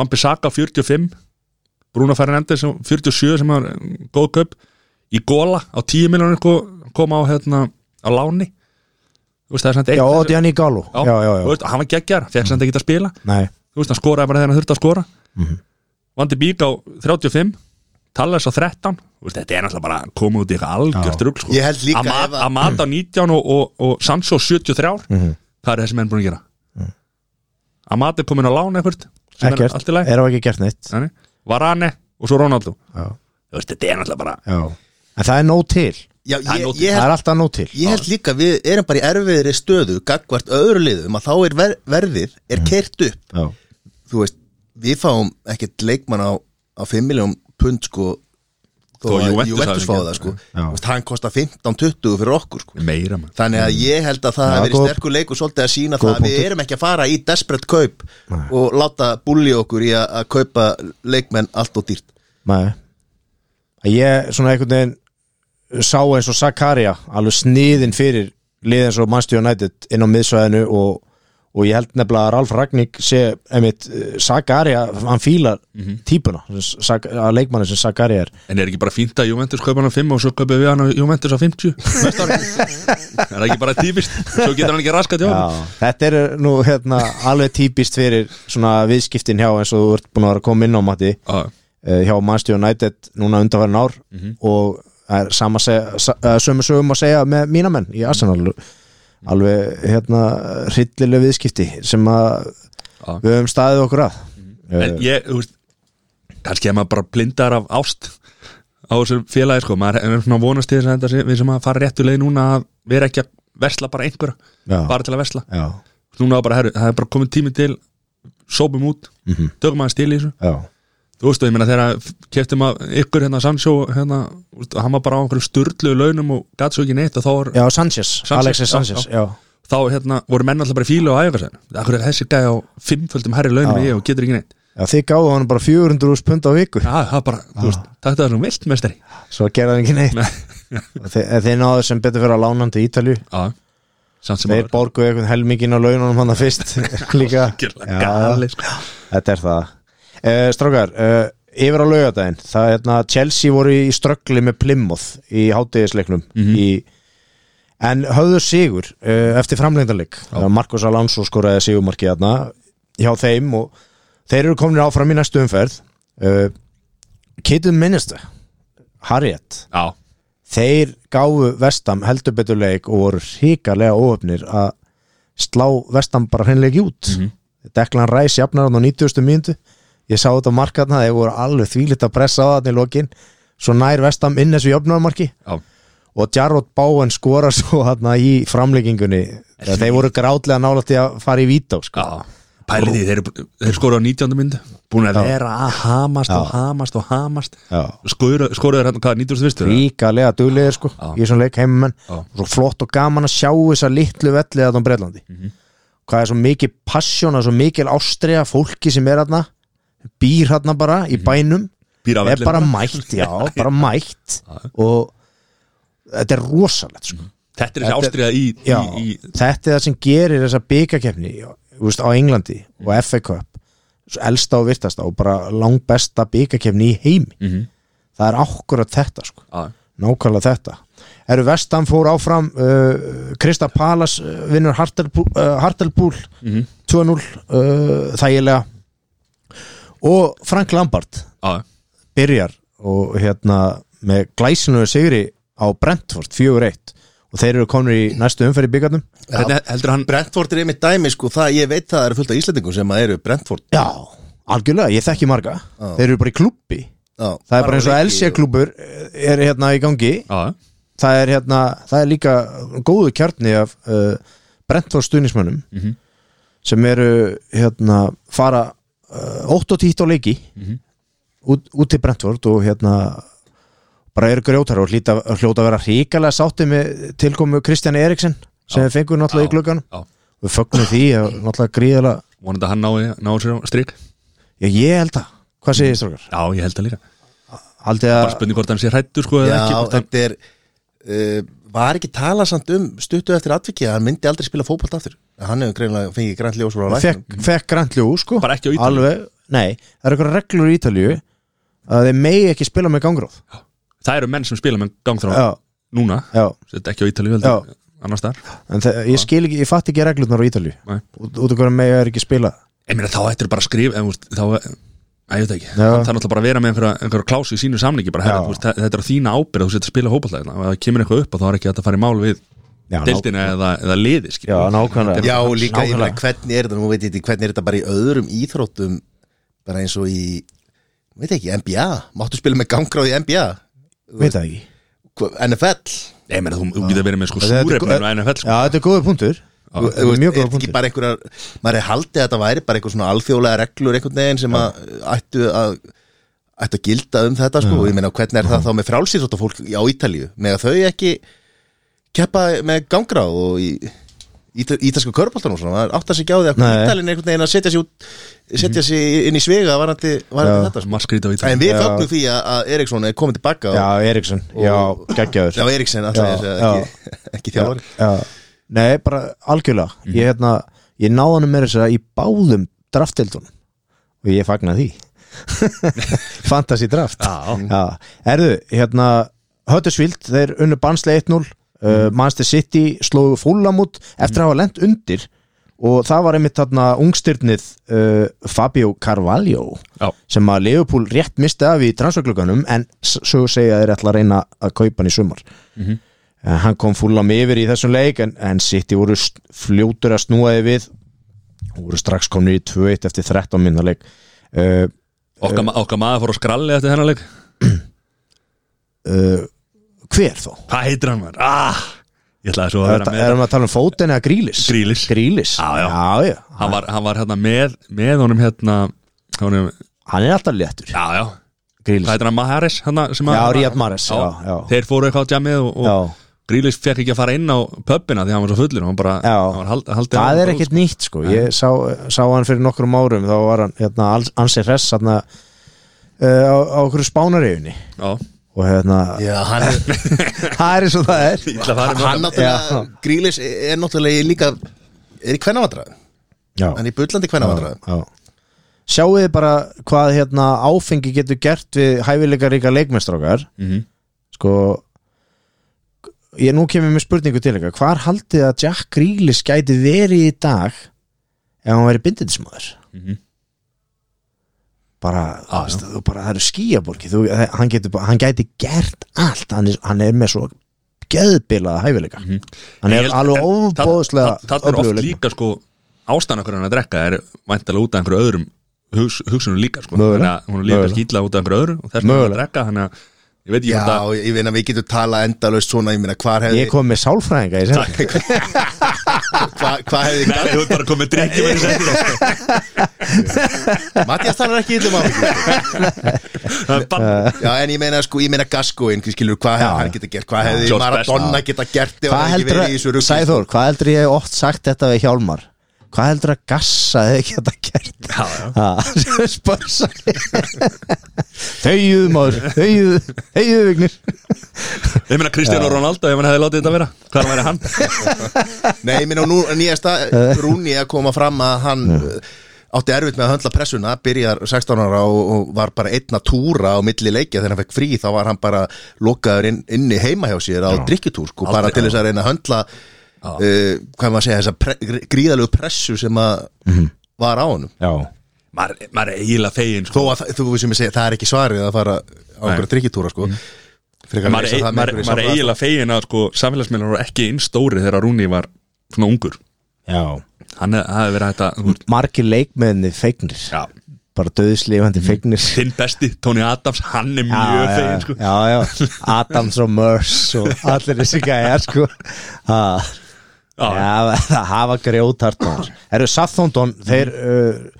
[SPEAKER 2] Vampi Saka 45 Bruno Fernandes á 47 sem var mm, góð kaup í góla á 10 miljonir kom á hérna á láni Þú veist, það er samt eitt-
[SPEAKER 1] já, og Diani Gallo já, já, já,
[SPEAKER 2] Þú veist, hann var geggjar, fekk samt ekki að spila
[SPEAKER 1] nei
[SPEAKER 2] þú veist, hann skoraði bara þegar hann þurfti að skora
[SPEAKER 1] Mhm.
[SPEAKER 2] Vandi Bík á 35 Tallas á 13 Þú veist, þetta er náttúrulega bara að koma út í eitthvað
[SPEAKER 1] Já.
[SPEAKER 2] algjört rugl sko.
[SPEAKER 3] Ég held líka
[SPEAKER 2] að,
[SPEAKER 3] ef
[SPEAKER 2] mat,
[SPEAKER 3] að-
[SPEAKER 2] að mata á 19 og, og, og Sancho 73
[SPEAKER 1] Mhm.
[SPEAKER 2] hvað er þessi menn búin að gera að mata er komin á lána eitthvað sem er
[SPEAKER 1] ekkert,
[SPEAKER 2] allt í lagi
[SPEAKER 1] er á ekki gert neitt
[SPEAKER 2] Þannig, Varane og svo Ronaldo
[SPEAKER 1] já,
[SPEAKER 2] Þú veist, þetta er náttúrulega bara
[SPEAKER 1] já en það er nóg til,
[SPEAKER 3] Já,
[SPEAKER 2] Það er
[SPEAKER 3] ég,
[SPEAKER 2] nóg til.
[SPEAKER 3] ég,
[SPEAKER 1] það
[SPEAKER 3] held,
[SPEAKER 1] er alltaf nóg til
[SPEAKER 3] ég held líka við erum bara í erfiðri stöðu gagvart öðru liðum að þá er ver, verðið er
[SPEAKER 2] Mhm.
[SPEAKER 3] kert upp
[SPEAKER 1] já,
[SPEAKER 3] þú veist, við fáum ekkert leikmann á, á 5 miljón pund sko þó
[SPEAKER 2] Þó
[SPEAKER 3] að
[SPEAKER 2] Juventus hafi
[SPEAKER 3] Juventus fáið
[SPEAKER 2] gert
[SPEAKER 3] það sko
[SPEAKER 1] Já.
[SPEAKER 3] Þú veist, hann kostar 15-20 fyrir okkur sko
[SPEAKER 2] meira mann
[SPEAKER 3] Þannig að ég held að
[SPEAKER 1] Já,
[SPEAKER 3] það hafi verið
[SPEAKER 1] góð-
[SPEAKER 3] sterkur leikur svolítið að sína
[SPEAKER 1] góð
[SPEAKER 3] það að við
[SPEAKER 1] punktur.
[SPEAKER 3] erum ekki að fara í desperate kaup
[SPEAKER 1] Nei.
[SPEAKER 3] og láta bulli okkur í að, að kaupa leikmenn allt og dýrt
[SPEAKER 1] nei Að ég svona einhvern veginn sá eins og Sakaria alveg sniðin fyrir liðin svo Manchester United inn á miðsvæðinu og, og ég held nefnilega að Ralf Ragník sé, emitt, Sakaria hann fílar típuna Sak, að leikmanni sem Sakaria er
[SPEAKER 2] En er ekki bara fínt að Juventus kaupa hann á 5 og svo kaupa við hann á Juventus á 50 Næsta ári? Er það ekki bara típist Svo getur hann ekki raskat hjá
[SPEAKER 1] Já, þetta er nú hérna alveg típist fyrir svona viðskiptin hjá eins og þú ert búin að vera að koma inn á Matti
[SPEAKER 2] Já,
[SPEAKER 1] eh, hjá Manchester United núna undanverðin ár
[SPEAKER 2] Mhm.
[SPEAKER 1] og það er sama seg- sa- eh, sömu sögum að segja með mína menn í Arsenal
[SPEAKER 2] Mhm.
[SPEAKER 1] alveg hérna hryllileg viðskipti sem að
[SPEAKER 2] já.
[SPEAKER 1] við höfum staðið okkur að
[SPEAKER 2] ah. Mhm.
[SPEAKER 1] Eh,
[SPEAKER 2] En ég, þú veist Kannski er maður bara blindar af ást á þessu félagi sko maður er svona að vonast til þess að þetta sé- við sem að fara réttu leið núna að vera ekki að vesla bara einhverja
[SPEAKER 1] Já.
[SPEAKER 2] bara til að vesla
[SPEAKER 1] Já,
[SPEAKER 2] núna á bara, herru, það er bara komið tími til sópum út,
[SPEAKER 1] mhm,
[SPEAKER 2] tökum aðeins til í þessu
[SPEAKER 1] já,
[SPEAKER 2] þú veist, og ég meina þegar keftum að ykkur hérna Sancho hérna, þú veist, hann var bara á einhverjum styrluðu launum og gæti svo ekki neitt og þá, var,
[SPEAKER 1] já Sanchez, Alexis
[SPEAKER 2] já,
[SPEAKER 1] Sanchez já,
[SPEAKER 2] þá hérna, voru menn alltaf bara í fílu á æfingarsæðinu Akkur er þessi gæði á fimmföldum herri
[SPEAKER 1] Já.
[SPEAKER 2] launum í ég og getur ekki neitt
[SPEAKER 1] já, þið gáðu hann bara 400 pund á viku
[SPEAKER 2] Já, það er bara, þú veist, takk það er svona vilt mestari
[SPEAKER 1] svo gerða hann ekki neitt Og þið, en þið náðu sem betur fyrir að lána hann til Ítalju
[SPEAKER 2] Já, samt sem
[SPEAKER 1] Þeir
[SPEAKER 2] áður.
[SPEAKER 1] borguðu einhvern helmingin á laununum hann fyrst líka
[SPEAKER 2] Algjörlega
[SPEAKER 1] Já,
[SPEAKER 2] galið, sko.
[SPEAKER 1] Þetta er það uh, Strákar, uh, yfir á laugardaginn það er hérna, Chelsea voru í ströggli með Plymouth í hátíðisleiknum í, en höfðu sigur uh, eftir framlengdarleik Eh, Marcos Alonso skoraði sigurmarkið hérna hjá þeim og þeir eru komin áfram í næstu umferð uh, Kittum Minister Harriet
[SPEAKER 2] Já,
[SPEAKER 1] þeir gáfu vestam heldur betur leik og voru híkarlega óöfnir að slá vestam bara hreinleik út Deklan Ræs jafnar hann á 90. mínútu ég sá þetta á markaðna, þeir voru alveg þvílitt að pressa á þarna í lokin svo nær vestam inn þessu jafnarmarki
[SPEAKER 2] Já.
[SPEAKER 1] og Jarrod Báen skora svo þarna í framleggingunni þeir voru grátlega nálægt í að fara í vító sko.
[SPEAKER 2] Já, pælið því, þeir, eru- þeir skoru á 19. myndu Búin að
[SPEAKER 1] Já.
[SPEAKER 2] vera að hamast og
[SPEAKER 1] Já.
[SPEAKER 2] hamast og hamast
[SPEAKER 1] Já.
[SPEAKER 2] Skoru þeir hann, hvað, 91.
[SPEAKER 1] ríkalega duglegir sko
[SPEAKER 2] Já.
[SPEAKER 1] í þessum leik heimamenn
[SPEAKER 2] Já.
[SPEAKER 1] og svo flott og gaman að sjá þessa litlu velli að á Breitlandi
[SPEAKER 2] Mhm.
[SPEAKER 1] hvað er svo mikið passjón og svo mikil ástriða fólki sem er hérna býr hérna bara í bænum
[SPEAKER 2] Býr af
[SPEAKER 1] er bara
[SPEAKER 2] Mhm. vellinum.
[SPEAKER 1] mætt, já, bara mætt og þetta er rosalegt sko
[SPEAKER 2] Þetta er þessi
[SPEAKER 1] Þetta
[SPEAKER 2] ástriða í, í,
[SPEAKER 1] já,
[SPEAKER 2] Mhm. í
[SPEAKER 1] þetta er það sem gerir þessa byggakefni á Englandi og
[SPEAKER 2] Mhm.
[SPEAKER 1] FA Cup svo elsta og virtasta og bara langbesta byggakefni í heimi
[SPEAKER 2] Mhm.
[SPEAKER 1] það er akkurat þetta sko
[SPEAKER 2] á,
[SPEAKER 1] nákvæmlega þetta eru vestan fór áfram uh, Krista Palas uh, vinnur Hartelbúl uh, Hartlepool 2-0 uh, þægilega og Frank Lampard
[SPEAKER 2] á,
[SPEAKER 1] byrjar og hérna með glæsinu sigri á Brentford 4-1 og þeir eru konur í næstu umferð í byggarnum
[SPEAKER 2] Hvernig heldur hann
[SPEAKER 3] Brentford er einmitt dæmi sko, það, ég veit það það eru fullt af Íslendingum sem að eru Brentford
[SPEAKER 1] já, algjörlega, ég þekki marga þeir eru bara í klubbi
[SPEAKER 3] Já,
[SPEAKER 1] það er bara eins og
[SPEAKER 3] á leiki
[SPEAKER 1] LC klubur er hérna í gangi
[SPEAKER 2] á,
[SPEAKER 1] það er hérna, það er líka góðu kjarni af uh, Brentford stuðnismönnum
[SPEAKER 2] Mhm.
[SPEAKER 1] sem eru hérna fara uh, 8 og 10 á leiki
[SPEAKER 2] Mhm.
[SPEAKER 1] út, út til Brentford og hérna bara eru grjótar og hlýta, hljóta að vera ríkalega sátti með tilkomu Kristján Eriksen sem við fengum náttúrulega í gluggan
[SPEAKER 2] á
[SPEAKER 1] við fögnum því að náttúrulega gríðala
[SPEAKER 2] Vonandi að hann nái, nái sér á strik
[SPEAKER 1] já ég held að, hvað segir strókar?
[SPEAKER 2] Já, ég held það líka
[SPEAKER 1] Haldið
[SPEAKER 2] Mhm. Bara
[SPEAKER 1] að,
[SPEAKER 2] spurning hvort hann sé hrættur sko eða
[SPEAKER 3] Já,
[SPEAKER 2] ekki hvort hann,
[SPEAKER 3] þetta er uh, var ekki talað samt um stuttu eftir atvikið að hann myndi aldrei spila fótbolt aftur hann hefur greinlega fengið grænt ljós frá læknum.
[SPEAKER 1] fekk, fekk grænt ljú sko
[SPEAKER 2] Bara ekki á Ítalíu.
[SPEAKER 1] Alveg, nei, það eru eitthvað reglur í Ítalíu að þeir megi ekki spila með gangróð
[SPEAKER 2] Það eru menn sem spila með gangþrá
[SPEAKER 1] Já,
[SPEAKER 2] núna
[SPEAKER 1] já,
[SPEAKER 2] Þetta er ekki á Ítalíu
[SPEAKER 1] Já.
[SPEAKER 2] heldur annars þar
[SPEAKER 1] en það, ég skil ekki, ég fatt ekki reglurnar á Ítalíu
[SPEAKER 2] Nei.
[SPEAKER 1] Út út af hverju megi er ekki spila
[SPEAKER 2] Ég meina þá ættir bara að skrifa en, þú veist, þá, að, ég veit ekki,
[SPEAKER 1] Já.
[SPEAKER 2] það er náttúrulega bara að vera með einhverja, einhverja klásu í sínu samningi bara, herri,
[SPEAKER 1] Já.
[SPEAKER 2] þú veist, þe- þetta er á þína ábyrð, þú setur að spila hópaðlega og það kemur eitthvað upp og þá er ekki hægt að fara í mál við
[SPEAKER 1] Já, ná-
[SPEAKER 2] deildina eða, eða liði skilur.
[SPEAKER 1] Já, nákvæmlega.
[SPEAKER 2] Þetta er
[SPEAKER 3] Já,
[SPEAKER 1] Nákvæmlega.
[SPEAKER 3] líka, ég meina, hvernig er þetta, nú veit ég ekki, hvernig er þetta bara í öðrum íþróttum, bara eins og í, veit ekki, NBA, máttu spila með gangráð í NBA,
[SPEAKER 1] veit það ekki
[SPEAKER 3] Hva- NFL,
[SPEAKER 2] Ég meina, þú, þú getur verið með sko
[SPEAKER 1] Þetta er-
[SPEAKER 2] súrefni og NFL
[SPEAKER 1] Já,
[SPEAKER 2] sko.
[SPEAKER 1] þetta er góður punktur
[SPEAKER 3] þú
[SPEAKER 1] Þetta
[SPEAKER 3] þú
[SPEAKER 1] er
[SPEAKER 3] veist,
[SPEAKER 1] Mjög
[SPEAKER 3] er
[SPEAKER 1] góður
[SPEAKER 3] þetta ekki
[SPEAKER 1] punktur
[SPEAKER 3] bara einhverjar, maður er haldið að þetta væri bara einhver svona alþjóðlega reglur einhvern veginn sem að ættu að, ættu að gilda um þetta, sko, og ég meina, hvernig er það þá með frálsýrþótt fólk á Ítalíu, með að þau ekki keppa með gangráð og í... Ítalska körpoltan og svona, maður áttar sig ekki á því að
[SPEAKER 1] Nei.
[SPEAKER 3] Ítalinn einhvern veginn að setja sig, út, setja sig inn í svega varandi, varandi þetta sko.
[SPEAKER 2] Margt skrítið á
[SPEAKER 3] En
[SPEAKER 2] Ítalíu
[SPEAKER 3] við
[SPEAKER 1] Já.
[SPEAKER 3] fögnum því að- að Eriksson er komið tilbaka
[SPEAKER 1] Já,
[SPEAKER 3] og,
[SPEAKER 1] Eriksson, já, geggjaður
[SPEAKER 3] Já, Eriksson, alltaf
[SPEAKER 1] Já,
[SPEAKER 3] þess að ekki, ekki þjálfari
[SPEAKER 1] Já. Nei, bara algjörlega Ég, hérna, ég náði hann með þess að í báðum draftdeildunum og ég fagna því Fantasy draft
[SPEAKER 2] Já.
[SPEAKER 1] Já. Erðu, hérna Höttusvíld, þeir unnu bansli 1-0 uh, Manchester City slóðu fúlam út eftir að hafa lent undir og það var einmitt þarna ungstyrnið uh, Fabio Carvalho
[SPEAKER 2] Já.
[SPEAKER 1] sem að Leopold rétt misti af í transferglugganum en s- svo segja þeir ætla að reyna að kaupa hann í sumar Eh, hann kom fúlam yfir í þessum leik en, en City voru st- fljótur að snúaði við og voru strax komni í 2-1 eftir 13 minna leik uh,
[SPEAKER 2] Okkar ma- okkar maður fór á skralli eftir þennan leik
[SPEAKER 1] hver þó?
[SPEAKER 2] Hvað heitir hann maður? Ah, ég ætlaði svo að vera
[SPEAKER 1] Þetta-
[SPEAKER 2] hérna með
[SPEAKER 1] Erum við að tala um fótinn eða grílis?
[SPEAKER 2] Grealish.
[SPEAKER 1] Grílis,
[SPEAKER 2] Já, já.
[SPEAKER 1] já, já.
[SPEAKER 2] Hann var, hann var hérna með, með honum hérna honum,
[SPEAKER 1] Hann er alltaf léttur
[SPEAKER 2] Já, já,
[SPEAKER 1] Grílis
[SPEAKER 2] hvað heitir hann Maharis hérna, sem að-
[SPEAKER 1] Já, Riyad Mahrez, já, já.
[SPEAKER 2] Þeir fóru eitthvað á djamið og, og
[SPEAKER 1] Já,
[SPEAKER 2] Grílis fekk ekki að fara inn á pöppina því hann var svo fullur og hann bara
[SPEAKER 1] Já.
[SPEAKER 2] hann var hald, haldið á
[SPEAKER 1] það er
[SPEAKER 2] brúð,
[SPEAKER 1] ekkert nýtt sko Ég sá, sá hann fyrir nokkrum árum þá var hann, hérna, ansi hress hérna, uh, á, á okkur spánareyjunni
[SPEAKER 2] sko. Já,
[SPEAKER 1] og hérna,
[SPEAKER 3] Já, hann,
[SPEAKER 1] það er eins og það er
[SPEAKER 2] ég ætla að fara
[SPEAKER 3] hann
[SPEAKER 2] um það
[SPEAKER 3] náttúrulega Grílis er náttúrulega í líka er í kvennavandræðum,
[SPEAKER 1] Já,
[SPEAKER 3] hann er í bullandi kvennavandræðum
[SPEAKER 1] já Sjáu þið bara hvað hérna áfengi getur gert við hæfileikaríka leikmestrákar
[SPEAKER 2] Mhm.
[SPEAKER 1] sko ég nú kemur með spurningu til eitthvað hvar haldið þið að Jack Grealish gæti verið í dag ef hann væri bindindismöður
[SPEAKER 2] Mhm.
[SPEAKER 1] bara,
[SPEAKER 2] Já,
[SPEAKER 1] ah, þú, bara það eru skýjaborgi þú, hann, getur, bara- hann gæti gert allt hann er, hann er með svo geðbilaða hæfileika hann
[SPEAKER 2] Ég
[SPEAKER 1] er
[SPEAKER 2] held-
[SPEAKER 1] alveg
[SPEAKER 2] Mhm. en það-
[SPEAKER 1] óbóðslega
[SPEAKER 2] það- það er oft
[SPEAKER 1] öflugur leikmaður.
[SPEAKER 2] líka sko ástæðan okkur hann að drekka er væntalega út af einhverju öðrum hugs, hugsunum líka sko.
[SPEAKER 1] Mögulega.
[SPEAKER 2] Þannig að hún er líka
[SPEAKER 1] Mögulega.
[SPEAKER 2] kannski illa út af einhverju öðru og þess að hann að
[SPEAKER 1] Mögulega.
[SPEAKER 2] drekka þannig að ég veit ekki
[SPEAKER 3] Já,
[SPEAKER 2] hvort að-
[SPEAKER 3] ég veit að við getum talað endalaust svona, ég meina, hvar hefði
[SPEAKER 1] Ég kom með sálfræðinga í sem
[SPEAKER 3] hva, Hvað hefði
[SPEAKER 2] Nei, þú ert bara komið drikkjum í þessu
[SPEAKER 3] Mattias talar ekki yllum á mig
[SPEAKER 2] Það er bara
[SPEAKER 3] Já, en ég meina, sko, ég meina Gaskoin, skilur,
[SPEAKER 1] Já,
[SPEAKER 3] hvað hefði
[SPEAKER 1] já.
[SPEAKER 3] hann geta gert Hvað hefði
[SPEAKER 2] George
[SPEAKER 3] Maradona geta gert ef
[SPEAKER 1] Hvað
[SPEAKER 3] hann hefði ekki
[SPEAKER 1] heldur
[SPEAKER 3] verið í þessu
[SPEAKER 1] að,
[SPEAKER 3] rugli?
[SPEAKER 1] Sæþór, hvað heldur ég hef oft sagt þetta við Hjálmar? Hvað heldur að gassa þau ekki að þetta gert?
[SPEAKER 2] Já, já.
[SPEAKER 1] Ha, Spörsa Þauðu maður, þauðu, þauðu vignir
[SPEAKER 2] Ég meina Kristján Ronaldo, ég meina hefði látið þetta vera Hvað væri hann?
[SPEAKER 3] Nei, ég meina, og nú nýjasta Rúni að koma fram að hann uh, átti erfitt með að höndla pressuna byrjar 16 ára og, og var bara einn að túra á milli leikja þegar hann fekk frí þá var hann bara lokaður inn, inni heima hjá sér á drikkjutúr sko, bara
[SPEAKER 2] Aldrei-
[SPEAKER 3] til þess að reyna að höndla uh, hvað maður að segja, þessa pre gr- gríðalegu pressu sem að var á honum
[SPEAKER 1] Já,
[SPEAKER 2] Maður maður er eiginlega fegin
[SPEAKER 3] þó
[SPEAKER 2] sko.
[SPEAKER 3] að þa- þú sem ég segja, það er ekki svarið að fara á einhverja drikkjutúra sko Frekar að
[SPEAKER 2] Maður
[SPEAKER 3] leysa
[SPEAKER 2] er-
[SPEAKER 3] það með
[SPEAKER 2] maður-
[SPEAKER 3] einhverju
[SPEAKER 2] maður er
[SPEAKER 3] samræðum.
[SPEAKER 2] eiginlega fegin að sko, samfélagsmiðlar voru ekki einn stóri þegar Rúni var svona ungur
[SPEAKER 1] já
[SPEAKER 2] Hann hef- hafði verið þetta, þú veist
[SPEAKER 1] Margir leikmeðinni feignir
[SPEAKER 2] Já.
[SPEAKER 1] Bara döðslifandi feignir
[SPEAKER 2] Þinn besti, Tony Adams, hann er
[SPEAKER 1] Já,
[SPEAKER 2] mjög
[SPEAKER 1] já,
[SPEAKER 2] fegin sko.
[SPEAKER 1] já, já, Adams og Mörs og allir þessi gæjar sko ha,
[SPEAKER 2] Já.
[SPEAKER 1] já, það hafa grjótart Eru Southampton, þeir uh,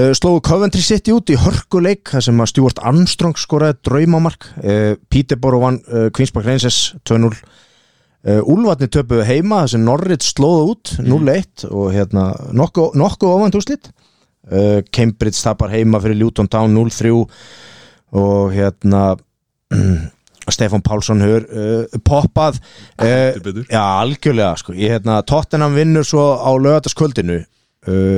[SPEAKER 1] uh, slóðu Coventry City út í hörkuleik þar sem að Stuart Armstrong skoraði draumamark uh, Peterborough vann uh, Queens Park Rangers 2-0 uh, Úlfarni töpuðu heima þar sem Norrit slóðu út 0-1 og hérna nokkuð nokku ofand úrslit uh, Cambridge tapar heima fyrir Luton Town 0-3 og hérna Stefán Pálsson hör uh, poppað uh,
[SPEAKER 2] Heldur betur.
[SPEAKER 1] já, algjörlega sko. ég, hérna, Tottenham vinnur svo á lögataskvöldinu uh,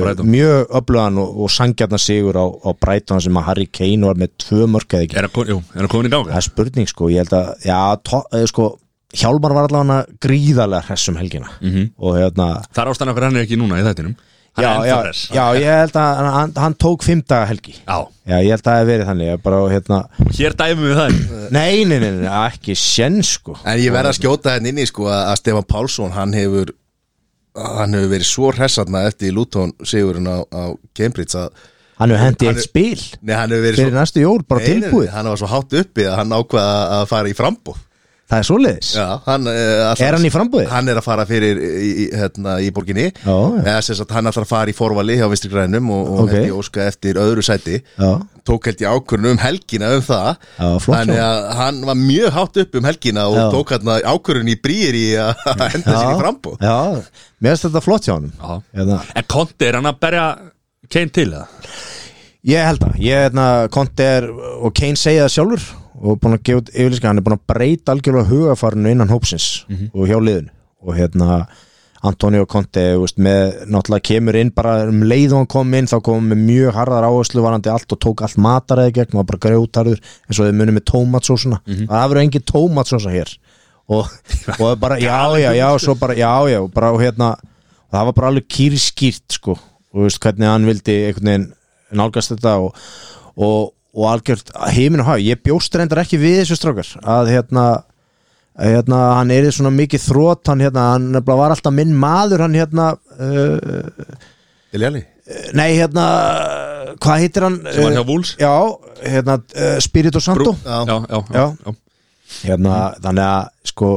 [SPEAKER 2] Brighton.
[SPEAKER 1] mjög öflugan og, og sangjarnar sigur á, á Brighton sem að Harry Kane var með tvö mörk eða ekki
[SPEAKER 2] Er hann kon- jú, er hann komin í ganga?
[SPEAKER 1] það er spurning sko, ég held að já, to, uh, sko, Hjálmar var allavega gríðarlega hress um helgina
[SPEAKER 2] Mhm.
[SPEAKER 1] og hérna
[SPEAKER 2] Það er ástæðan okkur hann er ekki núna í þættinum Hann
[SPEAKER 1] já,
[SPEAKER 2] er
[SPEAKER 1] já,
[SPEAKER 2] ennþá þess
[SPEAKER 1] já, ég held að hann- hann, hann tók fimm daga helgi
[SPEAKER 2] já,
[SPEAKER 1] já, ég held að það hef verið þannig ég bara, hérna,
[SPEAKER 2] hér dæfum við það ekki.
[SPEAKER 1] nei, nei, nei, nei, ekki sén sko
[SPEAKER 3] En ég verð að skjóta henni inn í sko að að Stefán Pálsson hann hefur hann hefur verið svo hressatna eftir Luton sigurinn á, á Cambridge að
[SPEAKER 1] hann hefur hendið
[SPEAKER 3] Hann
[SPEAKER 1] eitt
[SPEAKER 3] er-
[SPEAKER 1] spil
[SPEAKER 3] nei, hann hefur verið
[SPEAKER 1] fyrir
[SPEAKER 3] svo
[SPEAKER 1] næstu jól, bara
[SPEAKER 3] Nei, nei, nei,
[SPEAKER 1] tilbúið
[SPEAKER 3] hann var svo hátt uppi að hann ákvaða að fara í frambúð
[SPEAKER 1] það er svoleiðis,
[SPEAKER 3] Já, hann, eh,
[SPEAKER 1] er hann í frambúið?
[SPEAKER 3] Hann er að fara fyrir í, í, hérna, í borginni
[SPEAKER 1] Já, já.
[SPEAKER 3] Eða, sem sagt, Hann ætlar að fara í forvali hjá Vinstri Grænum og, og
[SPEAKER 1] Ok.
[SPEAKER 3] held ég óska eftir öðru sæti
[SPEAKER 1] já,
[SPEAKER 3] tók held ég ákvörðun um helgina um það
[SPEAKER 1] Já, flott hjá
[SPEAKER 3] þannig að hann var mjög hátt upp um helgina og
[SPEAKER 1] Já.
[SPEAKER 3] tók hérna ákvörðun í brýir í að henda sér í frambóð
[SPEAKER 1] já, mér finnst þetta flott hjá honum
[SPEAKER 2] Já.
[SPEAKER 1] Hérna,
[SPEAKER 2] En Konti, er hann að berja Kane til það?
[SPEAKER 1] ég held það, ég hérna Konti er og Kane segja það sjálfur og búin að gefa út yfirlýska, hann er búin að breyta algjörlega hugafarinu innan hópsins og hjá liðinu og hérna Antonio Conte, þú veist, með náttúrulega kemur inn bara um leið og hann kom inn þá kom hann með mjög harðar áherslu varandi allt og tók allt mataræði gegn, var bara grjótarður eins og þið munið með tómatsósuna það verður engin tómatsósa hér og, og bara, já, já, já, svo bara já, já, og bara, og hérna og það var bara alveg kýrskýrt, sko og veist, hvernig hann vildi einhvern veginn nálgast þetta og, og, og algjört heiminn og hafi, ég bjóst reyndar ekki við þessu strákar, að hérna að, hérna, hann er svona mikið þrótt hann, hérna, hann nefnilega var alltaf minn maður hann hérna uh,
[SPEAKER 3] Eliali
[SPEAKER 1] nei hérna, uh, hvað heitir hann
[SPEAKER 2] Sem var hjá
[SPEAKER 1] uh,
[SPEAKER 2] Wolves?
[SPEAKER 1] já, hérna, uh, Spirito Santo
[SPEAKER 3] Já.
[SPEAKER 2] já, já,
[SPEAKER 1] Já.
[SPEAKER 2] já.
[SPEAKER 1] hérna, þannig að sko,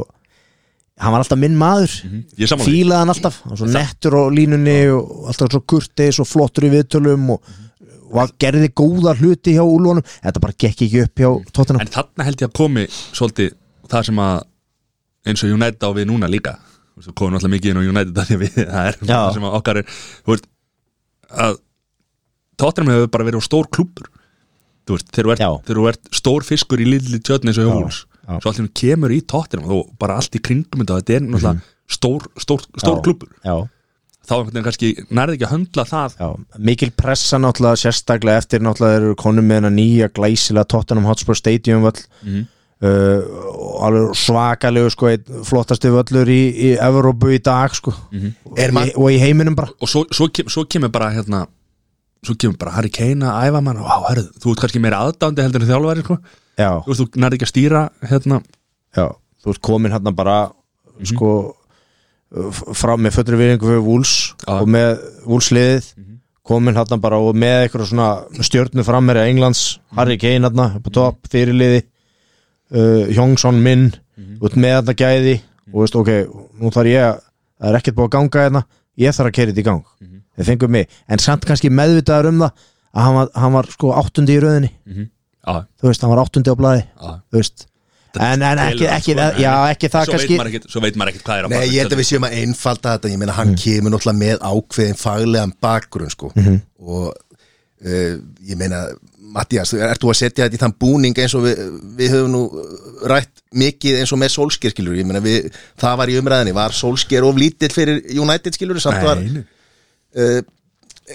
[SPEAKER 1] hann var alltaf minn maður
[SPEAKER 2] Ég er sammála því.
[SPEAKER 1] fílaði hann alltaf, hann var svo nettur á línunni og alltaf svo kurteis og flottur í viðtölum og, og hann gerði góða hluti hjá úlunum þetta bara gekk ekki upp hjá tóttina
[SPEAKER 2] En þarna held ég að komi svolítið það sem að eins og United á við núna líka Þú veist, Við komum alltaf mikið inn á United að því að við, það er
[SPEAKER 1] Já.
[SPEAKER 2] það sem að okkar er þú veist, að Tottenham hefur bara verið á stór klúppur þú veist, þegar þú ert,
[SPEAKER 1] Já.
[SPEAKER 2] þegar þú ert stór fiskur í lilli tjötni eins og hjóls
[SPEAKER 1] já.
[SPEAKER 2] svo allir kemur í Tottenham og þú bara allt í kringum þetta, þetta er náttúrulega stór, stór, stór klúppur
[SPEAKER 1] Mhm. já,
[SPEAKER 2] þá einhvern veginn kannski nærði ekki að höndla það
[SPEAKER 1] Já, mikil pressa náttúrulega sérstaklega eftir náttúrulega eru konum með hennar nýja glæsilega Tottenham Hotspur Stadium völl
[SPEAKER 2] Mhm.
[SPEAKER 1] uh, og alveg svakalegu sko, einn flottasti völlur í, í Evrópu í dag sko
[SPEAKER 2] Mhm.
[SPEAKER 3] Er
[SPEAKER 1] og,
[SPEAKER 3] man-
[SPEAKER 1] í, og í heiminum bara
[SPEAKER 2] og svo, svo, kem, svo kemur bara hérna svo kemur bara Harry Kane að æfa mann og á, herðu, þú ert kannski meira aðdándi heldur en þjálfæri sko.
[SPEAKER 1] Já,
[SPEAKER 2] þú, veist, þú nærði ekki að stýra hérna,
[SPEAKER 1] já, þú ert komin hérna bara sko f- frá með fötru viðingu fyrir Wools
[SPEAKER 2] Já.
[SPEAKER 1] og með Woolsliðið mm -hmm. komin hann bara og með eitthvað svona stjörnu frammeri Englands, Harry Kane hann upp á topp, fyrirliði uh, Hjóngsson minn út með þetta gæði og veist ok, nú þarf ég að það er ekkert búið að ganga hérna ég þarf að keira þetta í gang mm þeir fengum mig, en samt kannski meðvitaður um það að hann var, hann var sko áttundi í röðinni
[SPEAKER 2] Já,
[SPEAKER 1] þú veist, hann var áttundi á blaði
[SPEAKER 2] já
[SPEAKER 1] þú veist en, en ekki,
[SPEAKER 2] Telur,
[SPEAKER 1] ekki,
[SPEAKER 2] sko, en-
[SPEAKER 1] já, ekki það
[SPEAKER 2] svo
[SPEAKER 1] kannski
[SPEAKER 2] veit maður ekkit, Svo veit maður ekkit hvað er á
[SPEAKER 3] Nei,
[SPEAKER 2] bakvið
[SPEAKER 3] ég held að við séum að einfalda þetta Ég meina,
[SPEAKER 1] Mhm.
[SPEAKER 3] hann kemur náttúrulega með ákveðin faglegan bakgrunn, sko
[SPEAKER 1] Mhm.
[SPEAKER 3] Og uh, ég meina, Mattias, þú- ert þú að setja þetta í þann búning eins og við, við höfum nú uh, rætt mikið eins og með Solskjær, skilur Ég meina, við, það var í umræðinni, var Solskjær of lítill fyrir United, skilur Samt var
[SPEAKER 2] Nei, nei.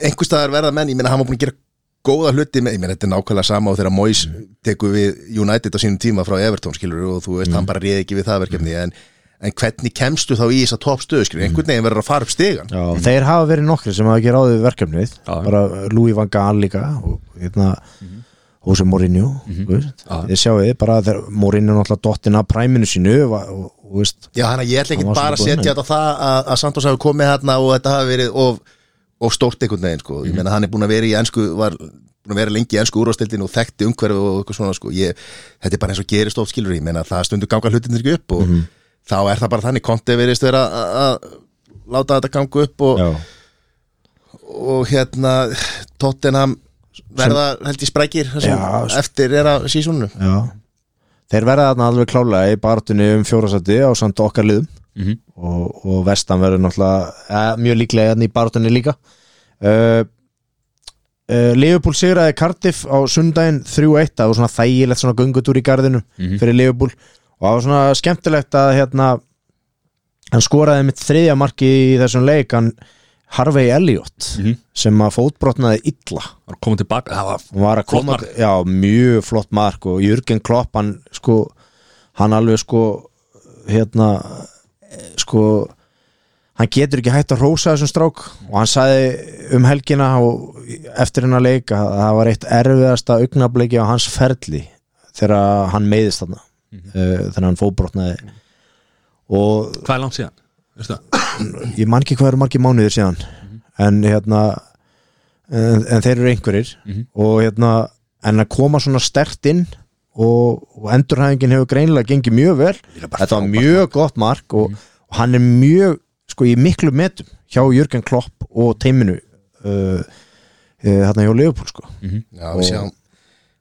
[SPEAKER 3] einhverstaðar verða menn, ég meina, hann var búin að gera góða hluti með, ég meina, þetta er nákvæmlega sama og þegar Moyes tekur við United á sínum tíma frá Everton, skilur, og þú veist,
[SPEAKER 2] Mm.
[SPEAKER 3] hann bara réði ekki við það verkefni, en, en hvernig kemstu þá í þessa toppstöðu, skilur,
[SPEAKER 2] Mm.
[SPEAKER 3] einhvern veginn verður að fara upp stegan
[SPEAKER 1] já, þeir hafa verið nokkri sem hafa ekki ráðið við verkefnið
[SPEAKER 2] Já. Mhm.
[SPEAKER 1] bara Louis van Gaal líka og hérna Jose Mourinho þú veist. þið sjáu þið bara þegar Mourinho náttúrulega dottin af præminu sínu og, og, og veist,
[SPEAKER 3] Já, þannig að ég ætla
[SPEAKER 1] Hann
[SPEAKER 3] ekki
[SPEAKER 1] var svona
[SPEAKER 3] bara að
[SPEAKER 1] búinn,
[SPEAKER 3] setja þetta á það að, að Santos hafi komið hérna og þetta hafi verið of, of stórt einhvern veginn, sko,
[SPEAKER 1] Mhm.
[SPEAKER 3] ég meina, hann er búin að vera í ensku, var búin að vera lengi í ensku úrvastildin og þekkti umhverfi og eitthvað svona, sko, ég, þetta er bara eins og gerist oft skilur, ég meina, það stundur ganga hlutinir ekki upp og
[SPEAKER 1] Mhm.
[SPEAKER 3] þá er það bara þannig, konti verist vera að- að láta þetta ganga upp og,
[SPEAKER 1] já,
[SPEAKER 3] og hérna, Tottenham verða, held ég, sprækir þessum,
[SPEAKER 1] Já, s-
[SPEAKER 3] eftir er að sísunum
[SPEAKER 1] já þeir verða þarna alveg klálega í baráttunni um fjórasætti á samt okkar liðum
[SPEAKER 2] Mhm.
[SPEAKER 1] og, og vestan verður náttúrulega eh, mjög líklega hérna í baráttunni líka uh, uh, Liverpool sigraði Cardiff á sundaginn 3-1, það var svona þægilegt svona göngutúr í garðinu fyrir Liverpool og það var svona skemmtilegt að hérna hann skoraði mitt þriðja marki í þessum leik hann Harvey Elliot
[SPEAKER 2] Mhm.
[SPEAKER 1] sem að fótbrotnaði illa
[SPEAKER 2] Var að koma tilbaka, það var
[SPEAKER 1] hann var að
[SPEAKER 2] Flott
[SPEAKER 1] koma,
[SPEAKER 2] mark.
[SPEAKER 1] já, mjög flott mark og Jürgen Klopp, hann sko hann alveg sko hérna, eh, sko hann getur ekki hægt að rósa þessum strák og hann sagði um helgina og eftir hennar leik að það var eitt erfiðasta augnabliki á hans ferli þegar hann meiðist þarna mm
[SPEAKER 2] Mhm.
[SPEAKER 1] þegar hann fóbrotnaði og
[SPEAKER 2] Hvað er langt síðan? Veistu það?
[SPEAKER 1] ég man ekki hvað eru margir mánuðir síðan en hérna en, en þeir eru einhverjir og hérna en að koma svona stert inn og, og endurhæðingin hefur greinilega gengið mjög vel
[SPEAKER 2] Líka bara
[SPEAKER 1] þetta var
[SPEAKER 2] frábært
[SPEAKER 1] mjög gott mark og, og hann er mjög sko í miklu metum hjá Jörgen Klopp og teiminu uh, uh, hérna hjá Leopold sko
[SPEAKER 3] Já, við sjáum,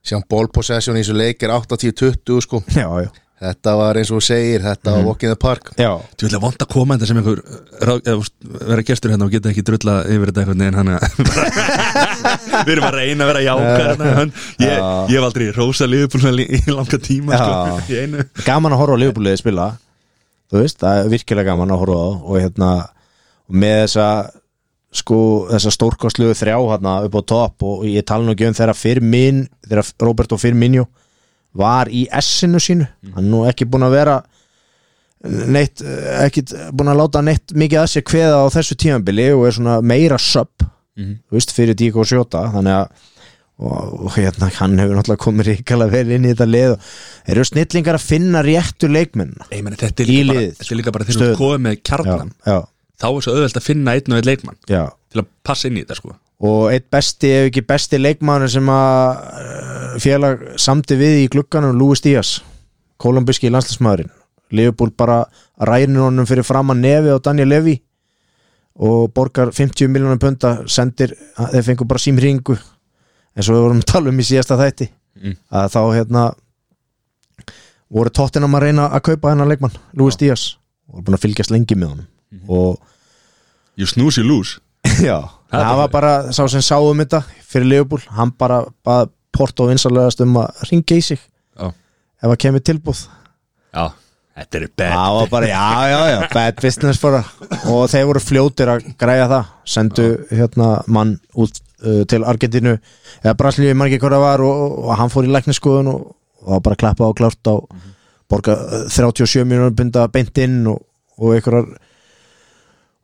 [SPEAKER 3] sjáum bólpossessjón í þessu leik er 80-20, sko
[SPEAKER 1] já, já,
[SPEAKER 3] Þetta var eins og þú segir, þetta
[SPEAKER 1] Mhm.
[SPEAKER 3] var Walk in the Park
[SPEAKER 1] já,
[SPEAKER 2] Þú vilja vond að koma þetta sem einhver uh, ráð- eða, þú veist, vera gestur hérna og geta ekki drulla yfir þetta einhvern veginn hann að við erum að reyna að vera jákar hérna, hann, ég, ég hef aldrei rósa liðbúin í langa tíma sko, í einu
[SPEAKER 1] gaman að horfa á Leopoldið spila þú veist, það er virkilega gaman að horfa á og hérna, og með þessa sko þessa stórkostluðu þrjá hérna upp á topp og ég tala nú ekki um þegar Firmin, þegar Roberto Firminio var í S-inu sínu hann er nú ekki búin að vera neitt, eh, ekki búin að láta neitt mikið að sér kveða á þessu tímabili og er svona meira sub þú veist, fyrir Díko Sjóta þannig að og, og hérna, hann hefur náttúrulega komið ríkala vel inn í þetta lið og eru snillingar að finna réttu leikmennina
[SPEAKER 2] Nei, meni, þetta, er
[SPEAKER 1] Í
[SPEAKER 2] líka bara,
[SPEAKER 1] liðið,
[SPEAKER 2] þetta er líka bara þegar
[SPEAKER 1] stöðuna.
[SPEAKER 2] þú komið með kjarnan
[SPEAKER 1] já,
[SPEAKER 2] þá er svo auðvelt að finna einn og einn leikmann
[SPEAKER 1] já, já
[SPEAKER 2] til að passa inn í þetta sko
[SPEAKER 1] og eitt besti ef ekki besti leikmaður sem að eh, félag samti við í glugganum Lúi Stías, kolumbiski landslismæðurinn Liverpool bara rænir honum fyrir framan nefi á Daniel Levy og borgar 50 miljónum punda sendir, þeir fengur bara símringu eins og við vorum að tala um í síðasta þætti að þá hérna voru tóttinam að reyna að kaupa hennar leikmann, Lúi Stías og voru búin að fylgjast lengi með honum og
[SPEAKER 2] You snooze, you lose
[SPEAKER 1] Já,
[SPEAKER 2] Það er
[SPEAKER 1] það
[SPEAKER 2] bara-
[SPEAKER 1] var bara sá sem sá um þetta fyrir Leopold, hann bara bað Porto vinsalegast um að ringa í sig
[SPEAKER 2] Já,
[SPEAKER 1] ef að kemur tilbúð
[SPEAKER 2] já. þetta er bad
[SPEAKER 1] Það var bara, já, já, já, bad business for her. og þeir voru fljótir að græja það sendu hérna mann út uh, til Argentínu eða Brasilíu, ég man ekki hvað það var og, og, og hann fór í lækniskoðun og, og var bara að klappa á klárt á borga uh, 37 miljónur bynda beint inn og, og einhverjar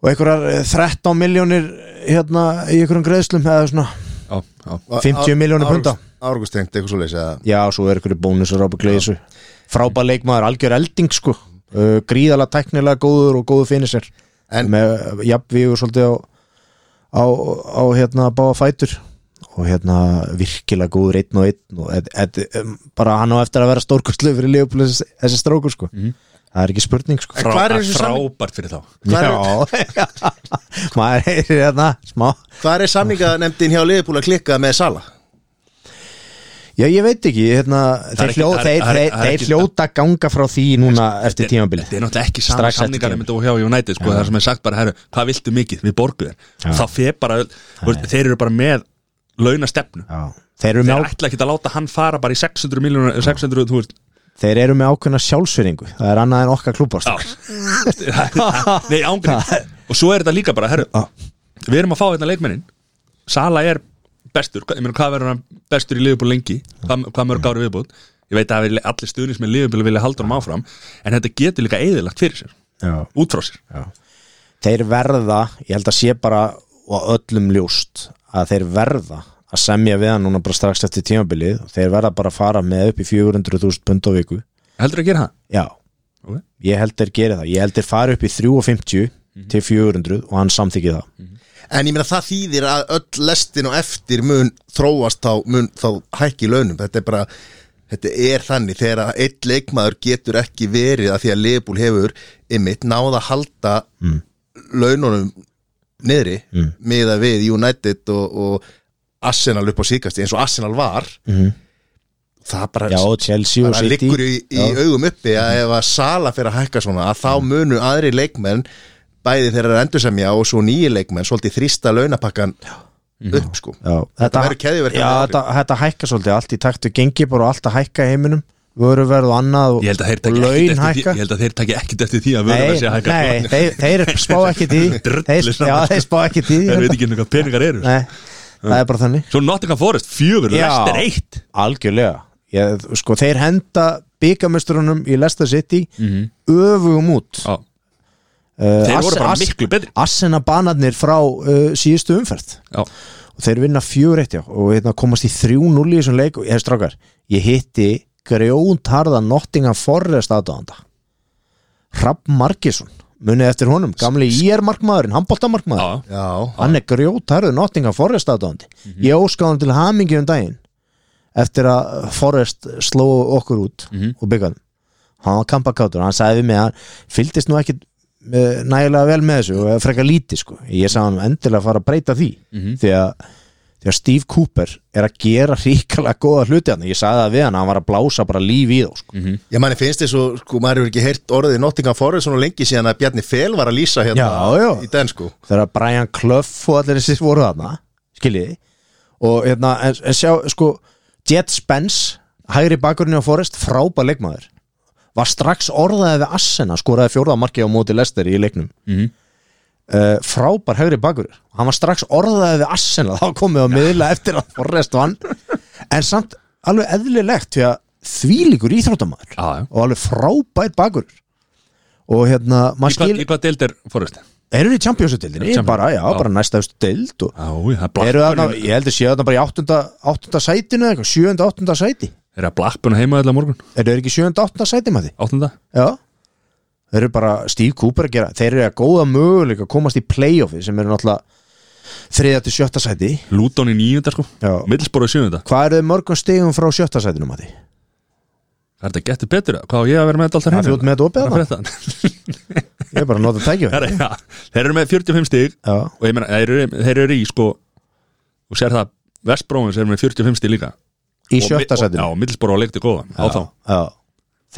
[SPEAKER 1] og einhverjar eh, 13 miljónir hérna í einhverjum greiðslum eða svona
[SPEAKER 2] já, já.
[SPEAKER 1] 50 milljónir punda.
[SPEAKER 3] Árgustengt, eitthvað svo leysi að
[SPEAKER 1] Já, svo er ykkur bónusar á bakleisu Frábær leikmaður, algjör elding sko uh, Gríðalega teknilega góður og góðu finnir sér
[SPEAKER 3] En-
[SPEAKER 1] með jafnvígur svolítið á, á, á hérna báða fætur og hérna virkilega góður einn og einn og et, et, um, bara hann á eftir að vera stórkostlu fyrir Leopold þessi, þessi strókur sko
[SPEAKER 2] Mhm.
[SPEAKER 1] það er ekki spurning sko
[SPEAKER 3] En hvar er
[SPEAKER 2] Frá-
[SPEAKER 3] þessi
[SPEAKER 2] frábært fyrir þá
[SPEAKER 3] hvar
[SPEAKER 1] Já, maður er hérna smá
[SPEAKER 3] Hvað er samninganefndin hjá Liðbúl að klikka með Sala?
[SPEAKER 1] Já, ég veit ekki, hérna,
[SPEAKER 2] er
[SPEAKER 1] þeir,
[SPEAKER 2] ekki-
[SPEAKER 1] hljó,
[SPEAKER 2] það er-
[SPEAKER 1] þeir,
[SPEAKER 2] það er-
[SPEAKER 1] þeir,
[SPEAKER 2] það er ekki-
[SPEAKER 1] þeir hljóta ganga frá því núna eftir tímabilið
[SPEAKER 2] Þetta er náttúrulega ekki sama
[SPEAKER 1] Strax eftir
[SPEAKER 2] samningar
[SPEAKER 1] tímabil.
[SPEAKER 2] með þetta og hjá United sko, þar sem er sagt bara, herru, hvað viltu mikið, við borgum
[SPEAKER 1] Já.
[SPEAKER 2] þér þá fer bara, veist, þeir eru bara með launastefnu,
[SPEAKER 1] Já, þeir eru með,
[SPEAKER 2] þeir
[SPEAKER 1] á,
[SPEAKER 2] ætla ekki að láta hann fara bara í 600 miljónur, 600, þú veist
[SPEAKER 1] þeir eru með ákveðna sjálfsveringu það er annað en okkar klúbast
[SPEAKER 2] Já. Nei, ángrið Og svo er þetta líka bara, herru Við erum að fá þetta leikmennin Sala er bestur, Hva- ég meina hvað verður hann bestur í liðbúl lengi hvað, hvað mörg ári viðbúð Ég veit að allir stuðnins með liðbúl vilja halda hann áfram En þetta getur líka eðilagt fyrir sér
[SPEAKER 1] Já.
[SPEAKER 2] Út frá sér
[SPEAKER 1] þeir verða, ég held að sé bara og öllum ljóst að þeir verða að semja við hann núna bara strax eftir tímabilið þeir verða bara að fara með upp í 400.000 pund á viku
[SPEAKER 2] Heldur að gera það?
[SPEAKER 1] Já,
[SPEAKER 2] Ok.
[SPEAKER 1] ég held þeir geri það ég held þeir fara upp í 350
[SPEAKER 3] Mhm.
[SPEAKER 1] til 400 og hann samþykir það
[SPEAKER 3] En ég meina það þýðir að öll lestin og eftir mun þróast þá, mun þá hækki í launum Þetta er bara, þetta er þannig þegar að einn leikmaður getur ekki verið að því að Liðbúl hefur ymmit náð að halda
[SPEAKER 1] Mm.
[SPEAKER 3] laununum niðri mm. miða við United og, og Arsenal upp á síkast eins og Arsenal var mm. það bara
[SPEAKER 1] Mhm. Já, og Chelsea og
[SPEAKER 3] það
[SPEAKER 1] City
[SPEAKER 3] liggur í, í
[SPEAKER 1] Já.
[SPEAKER 3] augum uppi að ef að Sala fyrir að hækka svona að þá munu aðri leikmenn bæði þeirra endursemja og svo nýji leikmenn svolítið þrýsta launapakkan upp sko
[SPEAKER 1] Já, þetta,
[SPEAKER 3] verður keðjuverkandi
[SPEAKER 1] Já,
[SPEAKER 3] áhrif.
[SPEAKER 1] þetta, þetta hækka svolítið allt í taktu gengi bara og allt að hækka í heiminum vöruverð og annað og,
[SPEAKER 2] Ég held að þeir
[SPEAKER 1] og
[SPEAKER 2] taki ekkit
[SPEAKER 1] laun
[SPEAKER 2] eftir
[SPEAKER 1] hækka
[SPEAKER 2] því- ég held að þeir taki ekkit eftir því að vörum
[SPEAKER 1] Nei,
[SPEAKER 2] að segja hækka
[SPEAKER 1] nei þeir, þeir spá ekki því þeir,
[SPEAKER 2] Drullu
[SPEAKER 1] Já,
[SPEAKER 2] saman. sko.
[SPEAKER 1] þeir spá ekki því
[SPEAKER 2] Þeir veit ekki hvernig hvað peningar eru
[SPEAKER 1] Nei, það er bara þannig
[SPEAKER 2] Svo Nottingham Forest, fjögur,
[SPEAKER 1] Já.
[SPEAKER 2] lestir eitt
[SPEAKER 1] Algjörlega Ég, sko, Þeir henda byggamöstrunum í Leicester City öfugum út
[SPEAKER 2] Já.
[SPEAKER 1] uh,
[SPEAKER 2] Mhm. Þeir voru bara miklu betri
[SPEAKER 1] Assena banarnir frá uh, síðustu umferð
[SPEAKER 2] Já.
[SPEAKER 1] og þeir vinna fjör eitt já og hérna komast í 3-0 í þessum leik og ég hef strákar, ég hitti grjóntarða Nottingham Forrest aðdáðanda Rapp Markisson munið eftir honum, gamli IR markmaðurinn handbóltamarkmaður,
[SPEAKER 2] Já.
[SPEAKER 3] Já,
[SPEAKER 1] hann er grjóntarðu Nottingham Forrest aðdáðandi ég óskáðum til hamingi um daginn eftir að Forrest sló okkur út og byggðan hann var kampakátur, hann sagði við mig að hann fylgdist nú ekkit eh, nægilega vel með þessu og frekar lítið sko ég sagði hann endilega að fara að breyta því því, að, því að Steve Cooper er að gera ríkala góða hluti hann ég sagði það við hann, hann var að blása bara líf í þá sko.
[SPEAKER 3] ég manni finnst þess og sko maður hefur ekki heyrt orðið Nottingham Forest svona lengi síðan að Bjarni Fel var að lýsa hérna
[SPEAKER 1] Já, já.
[SPEAKER 3] í den sko
[SPEAKER 1] þegar Brian Clough og allir þessir voru þarna skiljiði og hérna, en, en sjá sko Jet Spence, hægri bakurinn á Forrest frábær leikmaður var strax orðaðið við Assena skoraði fjórða markið á móti Lester í leiknum
[SPEAKER 2] Mhm.
[SPEAKER 1] uh, frábær hægri bakur hann var strax orðaðið við Arsenal þá komið á miðla eftir að Forrest vann en samt alveg eðlilegt því að þvílíkur íþróttamaður
[SPEAKER 2] Já, já.
[SPEAKER 1] og alveg frábær bakur og hérna
[SPEAKER 2] Í
[SPEAKER 1] maður
[SPEAKER 2] hvað,
[SPEAKER 1] skil,
[SPEAKER 2] í hvað deild er Forest?
[SPEAKER 1] eru þið í Champions-dildinni
[SPEAKER 2] Champions-
[SPEAKER 1] bara, já,
[SPEAKER 2] já.
[SPEAKER 1] bara næsta eftir dild og
[SPEAKER 2] Já, það er
[SPEAKER 1] eru þarna,
[SPEAKER 2] Blackburn
[SPEAKER 1] ég held að séu þarna bara í áttunda, áttunda sætinu eða eitthvað, sjöunda, áttunda sæti
[SPEAKER 2] Er það Blackburn heima allar morgun?
[SPEAKER 1] eru þeir ekki sjöunda, áttunda sæti maður því?
[SPEAKER 2] Áttunda?
[SPEAKER 1] Já Þeir eru bara Steve Cooper að gera Þeir eru að góða möguleika að komast í playoffi sem eru náttúrulega þriðja til sjötta sæti
[SPEAKER 2] Luton í nýjunda sko
[SPEAKER 1] Já.
[SPEAKER 2] Middlesborough í sjöunda
[SPEAKER 1] Hvað eru þau mörgum stigum frá sjötta sætinu, Mati?
[SPEAKER 2] Það er þetta getið betur eða? Hvað á ég að vera með þetta alltaf
[SPEAKER 1] Það er út með þetta opið
[SPEAKER 2] Það er
[SPEAKER 1] þarna
[SPEAKER 2] þetta
[SPEAKER 1] Ég er bara að nota tækjum
[SPEAKER 2] Herra, já. Þeir eru með 45 stig
[SPEAKER 1] Já,
[SPEAKER 2] Og ég meina, þeir eru, þeir eru í sko Og sér það Vestbróins er með 45 stig líka
[SPEAKER 1] í
[SPEAKER 2] Og mi-
[SPEAKER 1] sjötta
[SPEAKER 2] og- Já,
[SPEAKER 1] sætinu
[SPEAKER 2] Middlesbrough leikti góða Á þá
[SPEAKER 1] Já,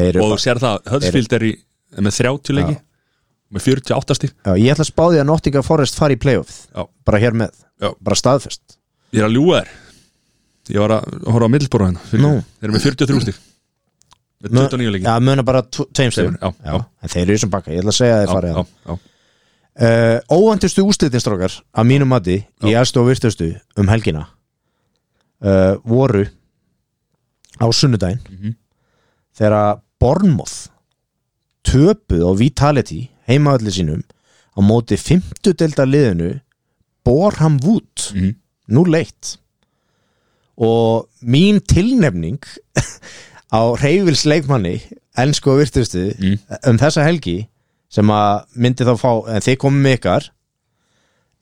[SPEAKER 1] þeir eru
[SPEAKER 2] Og þú
[SPEAKER 1] bara
[SPEAKER 2] sér það Höllsfield er í er með 30 leiki Með 48 stig
[SPEAKER 1] Já, Ég ætla að spá því að Nottingham Forest fari í playoffið
[SPEAKER 2] Já.
[SPEAKER 1] Bara hér með,
[SPEAKER 2] Já.
[SPEAKER 1] bara staðfest
[SPEAKER 2] Ég er að ljúga þér Ég var að horfa á Middlesbrough hérna fyrir-
[SPEAKER 1] Nú.
[SPEAKER 2] Þeir eru með 43 stig Með 29 leiki
[SPEAKER 1] Já, muna bara tvo- tveim stigum
[SPEAKER 2] já, já.
[SPEAKER 1] En þeir eru sem bakka, ég ætla að segja að þeir
[SPEAKER 2] Já,
[SPEAKER 1] farið
[SPEAKER 2] já, já.
[SPEAKER 1] uh, óvæntustu úslitinstrókar að mínu mati í aðstu og virtustu um helgina uh, voru á sunnudaginn
[SPEAKER 2] Mhm.
[SPEAKER 1] þegar að Bournemouth töpuð á Vitality heimaðalli sínum á móti 50 delta liðinu Borham Wood
[SPEAKER 2] Mhm.
[SPEAKER 1] nú leitt og mín tilnefning á reyfils leikmanni ennsku og virtustu um þessa helgi sem að myndi þá fá, en þið komum með ykkar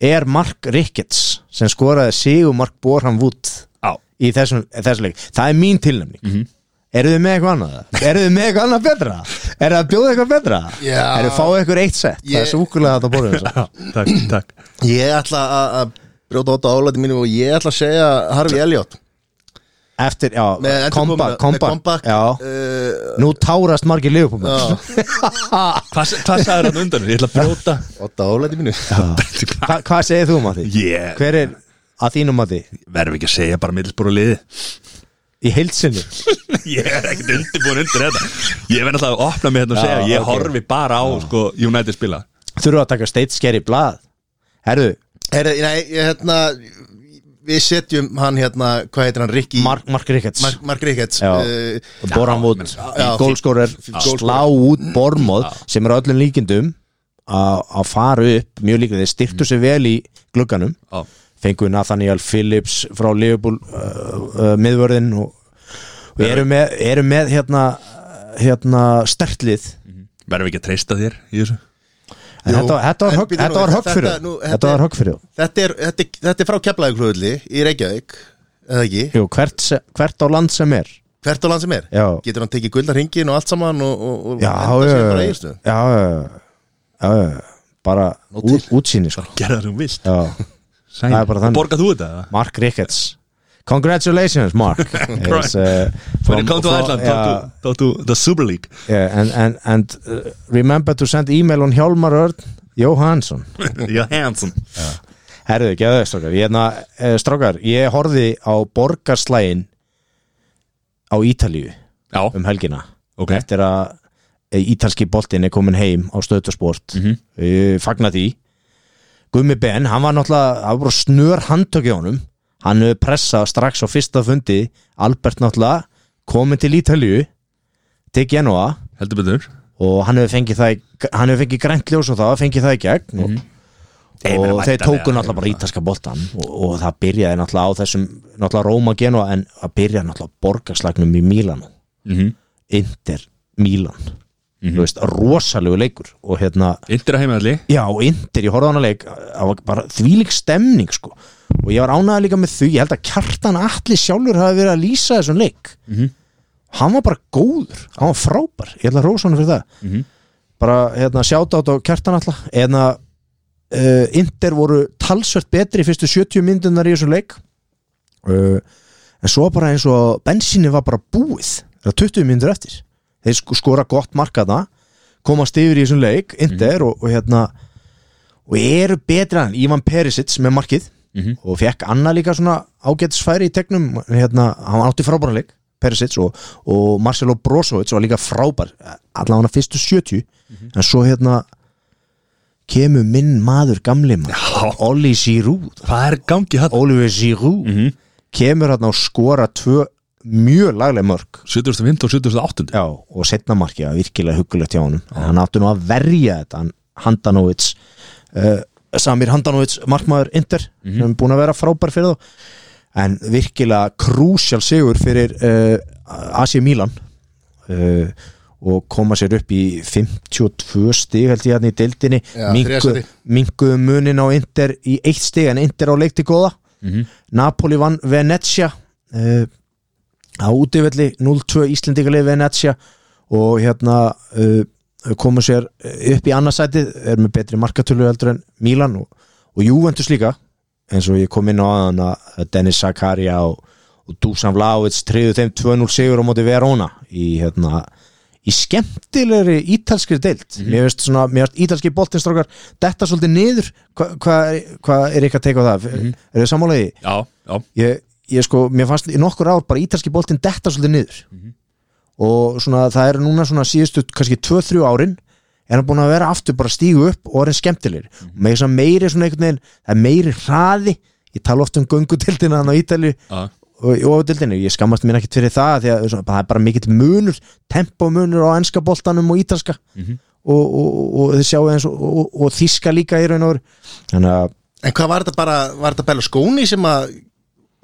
[SPEAKER 1] er Mark Ricketts sem skoraði Sigur Mark Borham Wood
[SPEAKER 2] Á.
[SPEAKER 1] í þessum, þessum leik það er mín tilnæmning mm -hmm. Eruð þið með eitthvað annað? Eruð þið með eitthvað annað betra? Eruð þið að bjóða eitthvað betra?
[SPEAKER 3] Já.
[SPEAKER 1] Eruð þið fáið eitthvað eitt sett? Það
[SPEAKER 3] Ég-
[SPEAKER 1] er svo úkulega að það borðum þess
[SPEAKER 2] Já, takk, takk
[SPEAKER 3] Ég ætla að- að brjóta út á álæti mínum og ég ætla að segja Harfi Elliot
[SPEAKER 1] Eftir, já,
[SPEAKER 3] Með endurkomu-
[SPEAKER 1] comeback,
[SPEAKER 3] með
[SPEAKER 1] comeback
[SPEAKER 3] comeback,
[SPEAKER 1] Já,
[SPEAKER 3] uh,
[SPEAKER 1] nú tárast margir
[SPEAKER 3] Eh,
[SPEAKER 1] liðupum
[SPEAKER 2] Hvað hva sagður hann undan? Ég ætla að brjóta
[SPEAKER 3] Út á álæti mínum
[SPEAKER 1] Hva, Hvað segir þú, Matti?
[SPEAKER 2] Ég
[SPEAKER 1] Hver er að þínum Matti?
[SPEAKER 2] verðum ekki að segja bara middelsbúru liði
[SPEAKER 1] Í heilsinni?
[SPEAKER 2] Ég er ekkert undirbúin undir þetta Ég verð alltaf að opna mig hérna og
[SPEAKER 1] Já,
[SPEAKER 2] segja Ég
[SPEAKER 1] ok.
[SPEAKER 2] horfi bara á sko, United spila
[SPEAKER 1] Þurfa að taka steitsker í blað Herðu,
[SPEAKER 3] Herri, nei, ég, hérna Við setjum hann hérna, hvað heitir hann, Rikki
[SPEAKER 1] Mark, Mark Ricketts
[SPEAKER 3] Mark, Mark Ricketts
[SPEAKER 1] Já.
[SPEAKER 3] uh,
[SPEAKER 1] Borhamwood,
[SPEAKER 3] já,
[SPEAKER 1] gólskórar
[SPEAKER 3] goalscorer.
[SPEAKER 1] slá út Bormóð sem er á öllum líkindum að að fara upp, mjög líka þeir styrtu sig vel í glugganum
[SPEAKER 2] Já.
[SPEAKER 1] fengu Nathaniel Phillips frá Liverpool uh, uh, miðvörðin og, og eru með, eru með hérna, hérna stertlið
[SPEAKER 2] Verðum ekki að treysta þér í þessu
[SPEAKER 1] en
[SPEAKER 3] Jú.
[SPEAKER 1] þetta, þetta var
[SPEAKER 3] En
[SPEAKER 1] högg-
[SPEAKER 3] býtum
[SPEAKER 1] þetta
[SPEAKER 3] nú,
[SPEAKER 1] var högg
[SPEAKER 3] þetta-
[SPEAKER 1] fyrir
[SPEAKER 3] nú,
[SPEAKER 1] þá.
[SPEAKER 3] þetta
[SPEAKER 1] þetta
[SPEAKER 3] er-
[SPEAKER 1] var högg fyrir þá.
[SPEAKER 3] þetta, er, þetta, er- þetta er frá Keflavíkurflugulli í Reykjavík eða ekki,
[SPEAKER 1] Jú, hvert, se- hvert á land sem er
[SPEAKER 3] hvert á land sem er
[SPEAKER 1] já,
[SPEAKER 3] Getur hann tekið guldar og allt saman og, og, og
[SPEAKER 1] já,
[SPEAKER 3] enda
[SPEAKER 1] já,
[SPEAKER 3] sér bara
[SPEAKER 1] já,
[SPEAKER 3] eigistu
[SPEAKER 1] já, já, já bara út, útsýni sko.
[SPEAKER 2] Gerða það sem þú vilt
[SPEAKER 1] já, það er bara þannig.
[SPEAKER 2] Borga þú þetta? eða?
[SPEAKER 1] Mark Ricketts Congratulations Mark It's, uh, from-
[SPEAKER 2] When you come to
[SPEAKER 1] from-
[SPEAKER 2] Iceland
[SPEAKER 1] yeah,
[SPEAKER 2] yeah. Go to the Super League
[SPEAKER 1] yeah, and, and, and uh, remember to send email on Hjálmar Örn Jóhansson
[SPEAKER 2] You're handsome
[SPEAKER 1] Herðu, geðu þau strákar ég, na, uh, Strákar, ég horfði á borgarslægin á Ítalíu
[SPEAKER 2] Já,
[SPEAKER 1] um helgina
[SPEAKER 2] ok
[SPEAKER 1] eftir að eh, ítalski boltinn er komin heim á stöðtusport mm fagna því Gummi Ben, hann var náttúrulega hann var bara snör handtöki á honum hann hefur pressað strax á fyrsta fundi Albert náttúrulega komin til Ítalju til Genoa
[SPEAKER 2] Heldur betur
[SPEAKER 1] og hann hefur fengið það í, hann hefur fengið grænt ljós og það fengið það í gegn og,
[SPEAKER 2] Ég meina,
[SPEAKER 1] og þeir
[SPEAKER 2] væntanlega,
[SPEAKER 1] tóku
[SPEAKER 2] ég
[SPEAKER 1] náttúrulega
[SPEAKER 2] meina.
[SPEAKER 1] bara ítalska boltan og, og það byrjaði náttúrulega á þessum náttúrulega Róma Genoa en það byrjaði náttúrulega borgarslagnum í Mílanu
[SPEAKER 2] mm -hmm.
[SPEAKER 1] Inter Milan þú veist, rosalegu leikur og hérna,
[SPEAKER 2] Indir að heima allir
[SPEAKER 1] já, og Inter, ég horfði á hana leik það var bara þvílík stemning sko. og ég var ánægði líka með þau ég held að kjartan allir sjálfur hafi verið að lýsa þessum leik hann var bara góður, hann var frábær ég ætla að rósa hann fyrir það
[SPEAKER 2] Mhm.
[SPEAKER 1] bara, hérna, sjáta á kjartan alla eða uh, Inter voru talsvert betri í fyrstu 70 myndunar í þessum leik uh, en svo bara eins og bensinni var bara búið það er 20 myndur eftir þeir sk- skora gott markaða komast yfir í þessum leik, Inder og, og hérna og eru betri en Ivan Perisic með markið
[SPEAKER 2] Mhm.
[SPEAKER 1] og fekk annað líka svona ágætisfæri í tegnum, hérna, hann átti frábæran leik Perisic og, og Marcelo Brozovic var líka frábær allavega hann fyrstu 70 en svo hérna kemur minn maður gamli maður Olli Giroud
[SPEAKER 2] Hvað er gangi hann?
[SPEAKER 1] Oliver Giroud kemur hann og skora tvö mjög lagleg mörg
[SPEAKER 2] 75 og 78
[SPEAKER 1] Já, og setna markið var virkilega huggulegt hjá honum en hann átti nú að verja þetta hann Handanovic uh, Samir Handanovic, markmaður Inter sem er búin að vera frábær fyrir þá en virkilega krúsjál sigur fyrir uh, Asi Milan uh, og koma sér upp í 52 stig held ég hann í deildinni
[SPEAKER 3] Já,
[SPEAKER 1] Minnku-
[SPEAKER 3] þriðja sæti.
[SPEAKER 1] minnkuðu munin á Inter í eitt stig en Inter á leikti góða Napoli vann Venezia uh, á útivelli 0-2 Íslendingalið Venezia og hérna uh, komu sér eh, upp í annarsætið er með betri markatölu heldur en Milan og, og Juventus líka eins og ég kom inn á aðan að Dennis Zakaria og, og Dusan Vlaovic triðu þeim 2-0 sigur á móti Verona í hérna í skemmtilegri ítalskri deild mér veist svona, mér veist ítalski boltinstrókar detta svolítið niður hvað hva, hva er eitthvað að teka á það er þið sammálaðið?
[SPEAKER 2] Já, já
[SPEAKER 1] ég, ég sko, mér fannst í nokkur ár bara ítalski boltinn detta svolítið niður og svona það er núna svona síðustu kannski 2-3 árin er hann búin að vera aftur bara stígu upp og er hann skemmtilegir og með þess að meiri svona einhvern veginn það er meiri hraði, ég tala oft um göngutildina hann á Ítalju
[SPEAKER 2] Já.
[SPEAKER 1] og í ofutildinu, ég skammast mér ekkert fyrir það því að svona, það er bara mikill munur tempomunur á enska boltanum og ítalska og, og, og, og þið sjáu eins og, og, og þíska líka í raun og veru. þannig að
[SPEAKER 3] En hvað var þetta bara, var þetta bara skóni sem að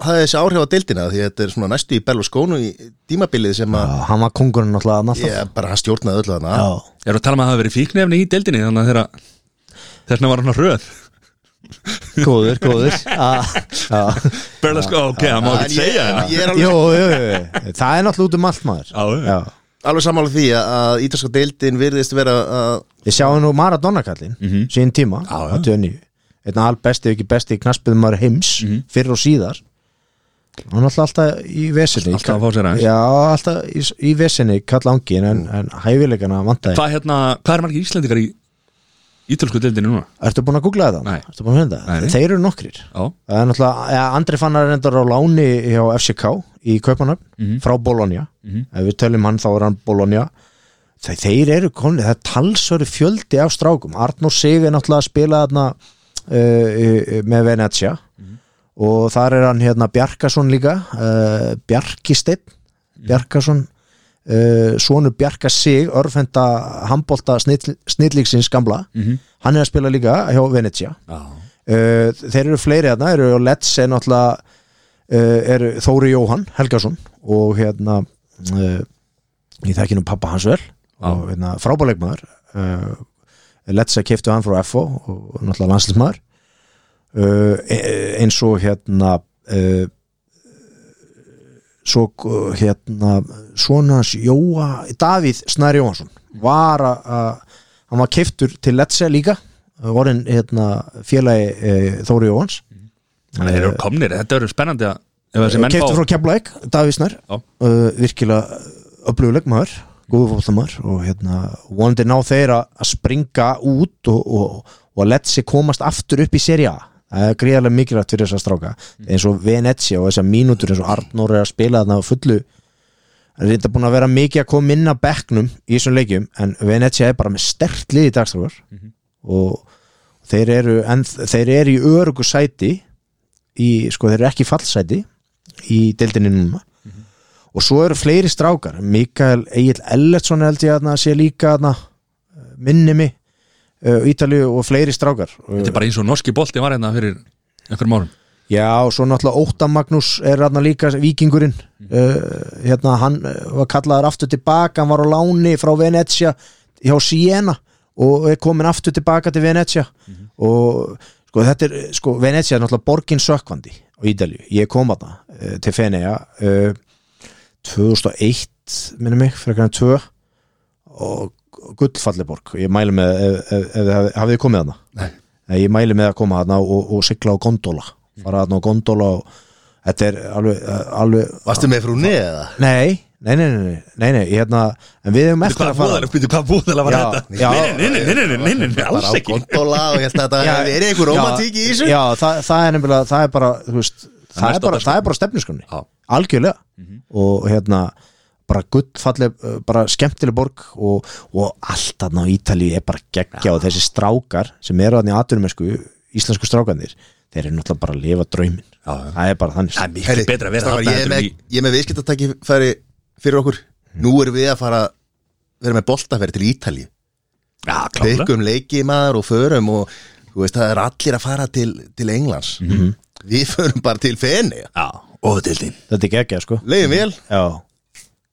[SPEAKER 3] hafði þessi áhrif á deildina því að þetta er svona næstu í Berlusconi í tímabilið sem að
[SPEAKER 1] Já, hann var kongurinn alltaf annars
[SPEAKER 3] ég, bara hann stjórnaði öllu þarna
[SPEAKER 1] Já,
[SPEAKER 2] Ég er að tala um að það hafa verið fíknefni í deildinni þannig að þeirra þessna var hann að röð
[SPEAKER 1] góður, góður Ah, já.
[SPEAKER 2] Berla sko, ok, það má
[SPEAKER 3] En
[SPEAKER 2] ekki
[SPEAKER 3] ég-
[SPEAKER 2] segja það
[SPEAKER 3] ég er alveg
[SPEAKER 1] Jú, jú, jú Það er náttúrulega út um allt maður
[SPEAKER 2] Já, jú.
[SPEAKER 1] Já.
[SPEAKER 3] alveg sammála því að- að ítalska deildin virðist vera að
[SPEAKER 1] Ég sjá nú Maradona kallinn sín tíma,
[SPEAKER 2] Mhm. Já, já.
[SPEAKER 1] 89 einn all besti, ef ekki besti knaspiðum maður heims
[SPEAKER 2] Mhm.
[SPEAKER 1] fyrr og síðar hann alltaf alltaf í vesinni
[SPEAKER 2] Alltaf að fá sér aðeins.
[SPEAKER 1] Já, alltaf í, í vesinni kall angin en, en hæfileikana vantaði
[SPEAKER 2] Hvað hérna, hvað er margir Íslendingar í ítölsku deildinni núna?
[SPEAKER 1] Ertu búin að googla þetta?
[SPEAKER 2] Nei.
[SPEAKER 1] Ertu búin að finna
[SPEAKER 2] Nei,
[SPEAKER 1] þetta?
[SPEAKER 2] nei.
[SPEAKER 1] Þeir eru nokkrir
[SPEAKER 2] Já,
[SPEAKER 1] Það er náttúrulega, ja, Andri Fannar er endar á láni hjá FCK í Kaupanöfn frá Bologna, ef við töljum hann þá er hann Bologna Þe, þeir eru komni, það er talsöru fjöldi af strákum, Arnór Sig er náttúrulega að spila þarna uh, uh, með Venetia og þar er hann hérna Bjarkason líka uh, Bjarkisteinn Bjarkason uh, sonur Bjarka Sig, örfenda handbolta snill, snillíksins gamla hann er að spila líka hjá Venetia
[SPEAKER 2] já,
[SPEAKER 1] uh, þeir eru fleiri hérna eru Let's er náttúrulega uh, eru Þóri Jóhann Helgason og hérna uh, ég þekki nú pappa hans vel og hérna, frábáleikmaður uh, Let's að keiftu hann frá FO og, og náttúrulega landslismaður uh, e- eins og hérna uh, svo uh, hérna svona hans Jóa Davíð Snær Jóhansson var að- að hann var keiftur til Letse líka vorin hérna félagi e, Þóri Jóhans
[SPEAKER 2] þannig að þeir eru komnir Þetta verður spennandi að ef þessi menn
[SPEAKER 1] keiftur
[SPEAKER 2] fá
[SPEAKER 1] frá Keflæk, Davíð Snær
[SPEAKER 2] Já.
[SPEAKER 1] uh, virkilega öfluguleg maður góðu fólkamaður og hérna vonandi ná þeir að að springa út og, og, og að Letse komast aftur upp í seria það er gríðarlega mikilvægt fyrir þessa stráka
[SPEAKER 2] Mm.
[SPEAKER 1] eins og Venezia og þessar mínútur eins og Arnór er að spila þarna á fullu Það er reynda búin að vera mikið að koma inn á bekknum í þessum leikjum en Venetia er bara með sterkt lið í dagstrákar
[SPEAKER 2] Mhm.
[SPEAKER 1] og þeir eru, en, þeir eru í örugu sæti í, sko, þeir eru ekki í fallsæti í deildinni núna og svo eru fleiri strákar Mikael Egil Ellertsson held ég að sé líka að minni mig uh, Ítalíu og fleiri strákar
[SPEAKER 2] Þetta er bara eins og norski bolti var hérna fyrir einhverjum árum
[SPEAKER 1] Já, og svo náttúrulega Óta Magnús er hérna líka vikingurinn uh, hérna, hann uh, var kallaður aftur tilbaka hann var á láni frá Venetia hjá Siena og er komin aftur tilbaka til Venetia og sko þetta er, sko Venetia er náttúrulega borgin sökkvandi á Ídalju, ég kom að það til Fenea uh, 2001 minni mig, frekar en 2 og gullfalliborg ég mæli með, ef, ef, ef, ef hafið þið komið þarna?
[SPEAKER 2] Nei.
[SPEAKER 1] Nei, ég mæli með að koma þarna og, og sigla á gondola fara þarna á gondola og þetta er alveg, eh, alveg
[SPEAKER 3] Varstu með frúni eða?
[SPEAKER 1] nei, nei, nei, nei, nei, nei, nei hérna, en við hefum eftir
[SPEAKER 2] Hvað
[SPEAKER 1] að fara
[SPEAKER 2] búðalega, hvað búðalega var
[SPEAKER 1] Já, já.
[SPEAKER 2] þetta? Nei, nei, nei, nei, nei, nei, nei, nei, alls
[SPEAKER 3] Bara á
[SPEAKER 2] ekki
[SPEAKER 3] gondola og ég held að
[SPEAKER 1] Já,
[SPEAKER 3] þetta er einhver
[SPEAKER 1] já,
[SPEAKER 3] romantík í þessu
[SPEAKER 1] Já, það, það er nefnilega, það er bara þú veist, það,
[SPEAKER 2] næst á
[SPEAKER 1] er bara,
[SPEAKER 2] dagskrá.
[SPEAKER 1] það er bara stefnuskunni
[SPEAKER 2] Já.
[SPEAKER 1] algjörlega og hérna bara gullfalleg, uh, bara skemmtileg borg og, og allt þarna á Ítalíu er bara geggja og þessi strákar sem eru þarna í aturumensku íslensku strákanir, þeir eru náttúrulega bara að lifa draumin,
[SPEAKER 2] Já, já.
[SPEAKER 1] það er bara þannig
[SPEAKER 2] Það er miklu
[SPEAKER 3] Herri,
[SPEAKER 2] betra að vera
[SPEAKER 3] strákar,
[SPEAKER 2] þarna
[SPEAKER 3] Ég er
[SPEAKER 2] heldur
[SPEAKER 3] með,
[SPEAKER 2] en í-
[SPEAKER 3] ég er með viðskiptatæki færi fyrir okkur Nú erum við að fara vera með boltaferð til Ítalíu
[SPEAKER 2] Já, klálega
[SPEAKER 3] Pekkum leiki maður og förum og þú veist það er allir að fara til, til Englands
[SPEAKER 2] Mhm.
[SPEAKER 3] Við förum bara til Feni
[SPEAKER 2] Já, óðildin
[SPEAKER 1] þetta er geggja sko
[SPEAKER 3] Legum vel
[SPEAKER 1] Já,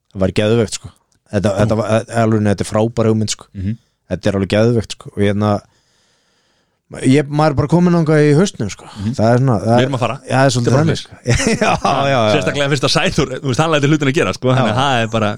[SPEAKER 1] það var geðvegt sko Þetta, þetta var e- alveg, þetta er frábæra hugmynd sko
[SPEAKER 2] Mhm.
[SPEAKER 1] Þetta er alveg geðvegt sko og hérna ég, maður er bara komin ánga í haustnum sko Það er svona það,
[SPEAKER 2] Mhm. Við erum að fara.
[SPEAKER 1] Já, það er svolítið
[SPEAKER 2] Þetta er
[SPEAKER 1] þannig sko. já, já, já, já,
[SPEAKER 2] Sérstaklega fyrst að Sæþór, þú veist, hann læti hlutin að gera sko, þannig að það er bara,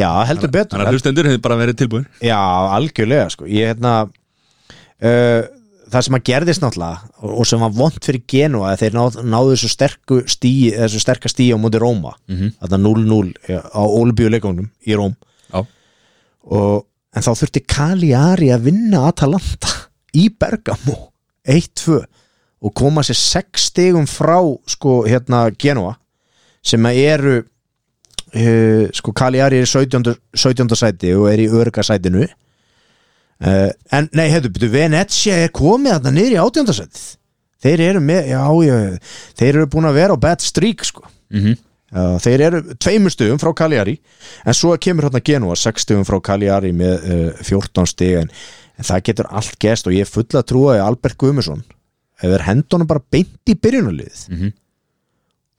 [SPEAKER 1] já, heldur betur
[SPEAKER 2] þannig að hlustendur hefur bara verið tilbúin
[SPEAKER 1] Já, algjörlega sko Ég hérna uh, Það sem að gerðist náttúrulega og- og sem var vond fyrir Genua að þeir náð, náðu þessu sterku stíi þessu sterka stíi á móti Róma þarna 0-0 á Olbíuleikunum í Róm
[SPEAKER 2] Já,
[SPEAKER 1] og, en þá þurfti Kaliari að vinna Atalanta í Bergamo 1-2 og koma sér 6 stigum frá sko hérna Genoa sem að eru uh, sko Kaliari er í 17. 17. sæti og er í örga sætinu uh, en nei, hefðu, byrju, Venetia er komið þarna niður í 18. sætið þeir eru með, já, já, þeir eru búin að vera á bad streak sko Uh, þeir eru tveimur stugum frá Kaljari en svo kemur hérna Genua 6 stugum frá Kaljari með uh, 14 stig en, en það getur allt gest og ég er full að trúa að Albert Guðmusson hefur hendunum bara beint í byrjunarliðið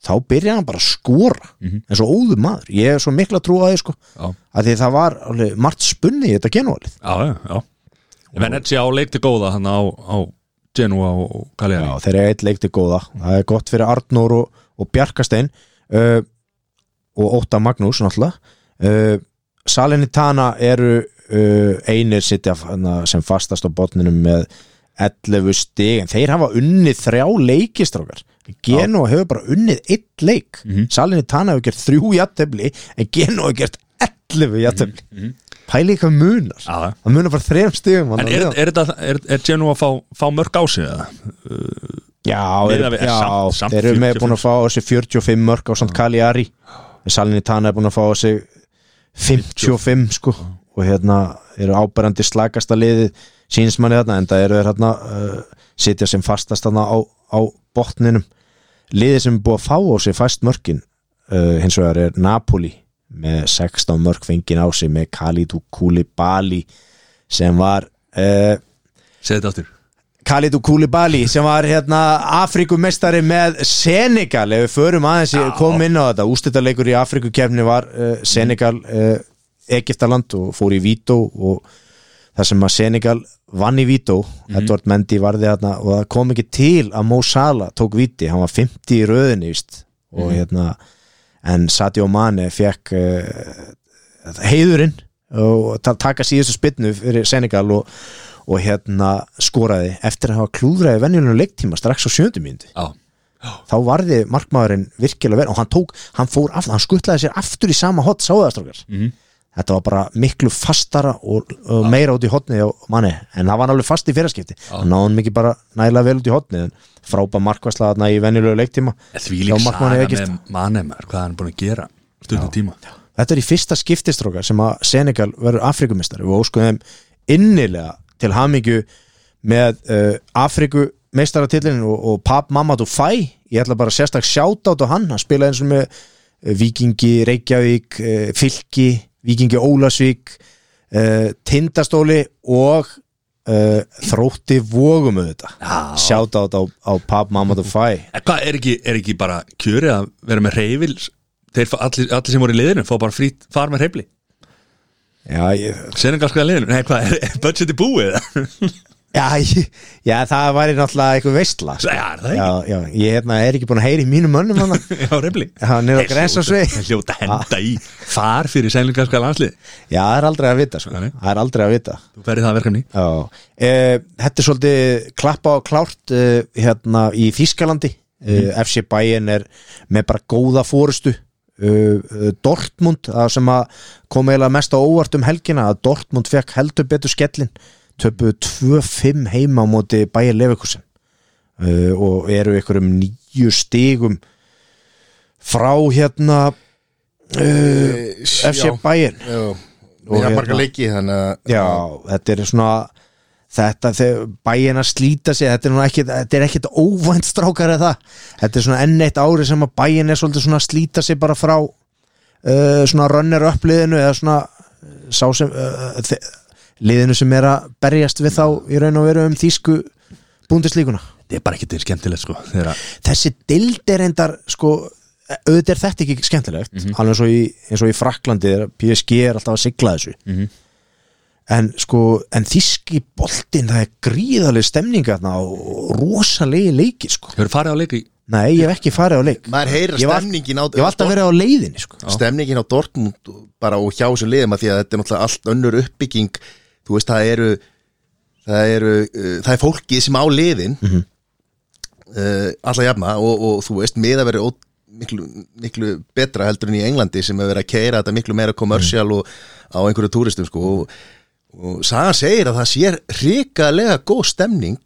[SPEAKER 1] þá byrjaði hann bara að skora eins og óður maður, ég er svo mikla trú að því sko,
[SPEAKER 2] Já.
[SPEAKER 1] að því það var alveg, margt spunni í þetta genúalið
[SPEAKER 2] Já, já, já Venezia á leik til góða hann á, á Genua og Kaljari
[SPEAKER 1] Já, þeir eru eitt leikti góða það er gott fyrir Arnór og, og Bjarkastein uh, og Óta Magnús náttúrulega uh, Salinitana eru uh, einir sitja hana, sem fastast á botninum með 11 stig en þeir hafa unnið þrjá leikistrákar Genoa hefur bara unnið eitt leik
[SPEAKER 2] Mhm.
[SPEAKER 1] Salinitana hefur gert þrjú jattefli en Genoa hefur gert 11 jattefli mm pæli eitthvað munar
[SPEAKER 2] Mhm, Já, já
[SPEAKER 1] það munar bara þrejum stigum
[SPEAKER 2] En er, er, er, er, er Genua að fá, fá mörg á sig eða?
[SPEAKER 1] Já,
[SPEAKER 2] Miðað
[SPEAKER 1] eru-
[SPEAKER 2] við-
[SPEAKER 1] já
[SPEAKER 2] samt- samt
[SPEAKER 1] þeir eru með
[SPEAKER 2] 45.
[SPEAKER 1] búin að fá á sig 45 mörg á samt Kaliari Salinitana er búin að fá á sig 55 sko og hérna eru áberandi slagasta liðið síns manni þarna en það eru þeir hérna uh, sitja sem fastast þarna á, á botninum liðið sem er búið að fá á sig fast mörkin uh, hins vegar er Napoli með 16 mörg fengin á sig með Kalidou Koulibaly sem var uh,
[SPEAKER 2] Segðu þetta áttur
[SPEAKER 1] Khalidou Koulibaly sem var hérna Afrikumestari með Senegal ef við förum aðeins í, komum inn á þetta ústættarleikur í Afrikukefni var uh, Senegal uh, Egiptaland og fór í Vító og það sem að Senegal vann í Vító Edvard Mendy varði hérna og það kom ekki til að Mo Salah tók Víti, hann var 50 í röðinni víst, og hérna en Sadio Mane fekk uh, heiðurinn og ta- taka síðustu spynnu fyrir Senegal og, og hérna skoraði eftir að hafa klúðraði venjulunum leiktíma strax á sjöndu mínútu
[SPEAKER 2] Já,
[SPEAKER 1] þá varði markmaðurinn virkilega vel og hann tók, hann fór aftur, hann skuttlaði sér aftur í sama hot sáðastrókar mm
[SPEAKER 2] Mhm.
[SPEAKER 1] -hmm. þetta var bara miklu fastara og, og meira út í hotnið á manni en það var alveg fast í fyrirskipti hann náði hann mikið bara nægilega vel út í hotnið en frápa markvaslaðna í venjulegu leiktíma
[SPEAKER 2] En því
[SPEAKER 1] hjá
[SPEAKER 2] líka
[SPEAKER 1] markmanni
[SPEAKER 2] saga
[SPEAKER 1] Egypta.
[SPEAKER 2] með manemar hvað hann er búin að gera stundum tíma
[SPEAKER 1] Þetta er í fyrsta skiptistróka sem að Senegal verður Afrikumistari og óskuðum innilega til hamingju með uh, Afrikumistaratillinni og, og Pap Mamadou Fæ ég ætla bara sérstak sjátátt á hann hann spilaði eins og með eh, Víkingi Reykjavík, uh, Fylki Víkingi Ólasvík uh, Tindastóli og uh, Þrótti Vogum auðvitað, sjátátt á, á Pap Mamadou Fæ
[SPEAKER 2] En hvað er ekki, er ekki bara kjörið að vera með reyfil Þeir fá- allir, allir sem voru í liðinu fá bara frýtt far með reyfli
[SPEAKER 1] Já, ég,
[SPEAKER 2] Senegalska liðinu, nei hvað, er, er budgeti búið? eða?
[SPEAKER 1] já, ég, já, það væri náttúrulega eitthvað veistla sko.
[SPEAKER 2] Já, er það ekki?
[SPEAKER 1] já, já, ég hérna, er ekki búin að heyri mínum mönnum hann
[SPEAKER 2] Já, reyfli
[SPEAKER 1] Hann er á
[SPEAKER 2] Þeir
[SPEAKER 1] grensásvegi.
[SPEAKER 2] hljóta- þeir hljóta að henda í far fyrir senegalska landslið
[SPEAKER 1] Já, það er aldrei að vita sko.
[SPEAKER 2] Nei.
[SPEAKER 1] Það er aldrei að vita
[SPEAKER 2] Þú ferði það verkefni
[SPEAKER 1] Já. e, Þetta er svolítið klappa og klárt e, hérna í Þískalandi e, FC Bayern er með bara góða fórustu e, e, Dortmund það sem að kom eiginlega mest á óvart um helgina að Dortmund fekk heldur betur skellin töpuðu 2-5 heima á móti Bayern Leverkusen e, og eru ykkur um nýju stigum frá hérna
[SPEAKER 3] Eh,
[SPEAKER 1] FC
[SPEAKER 3] já,
[SPEAKER 1] Bayern
[SPEAKER 3] já. Við
[SPEAKER 1] hérna-
[SPEAKER 3] hafa marga leiki þannig að
[SPEAKER 1] Já, þetta er svona þetta þegar bæin að slíta sig þetta er nú ekkit, þetta er ekkit óvænt strákar eða það, þetta er svona enn eitt ári sem að bæin er svolítið svona að slíta sig bara frá uh, svona runner up liðinu eða svona uh, sá sem uh, þe- liðinu sem er að berjast við þá í raun og veru um þýsku búndislíkuna
[SPEAKER 2] Þetta er bara ekki til skemmtilegt sko Þegar að
[SPEAKER 1] þessi dild er endar sko, auðvitað er þetta ekki skemmtilegt
[SPEAKER 2] Mhm.
[SPEAKER 1] alveg eins og, í, eins og í Fraklandi er, PSG er alltaf að sigla þessu
[SPEAKER 2] Mhm.
[SPEAKER 1] en sko en þíski boltinn það er gríðaleg stemninga þarna og og rosalegi leiki sko,
[SPEAKER 2] Hefur farið á leik í
[SPEAKER 1] nei ég hef ekki farið á leik
[SPEAKER 3] maður heyra
[SPEAKER 1] Ég var-
[SPEAKER 3] stemningin á
[SPEAKER 1] ég hef alltaf verið á leiðinni sko
[SPEAKER 3] stemningin á Dortmund og- bara og hjá þessum liðum að því að þetta er náttúrulega allt önnur uppbygging þú veist það eru það eru, uh, það er fólkið sem á liðin mm -hmm. alla jafna og, og þú veist miða verið ó- miklu, miklu betra heldur en í Englandi sem hefur verið að keira þetta miklu meira kommersial og á einhverju túristum sko og, og Sagan segir að það sér hrikalega góð stemning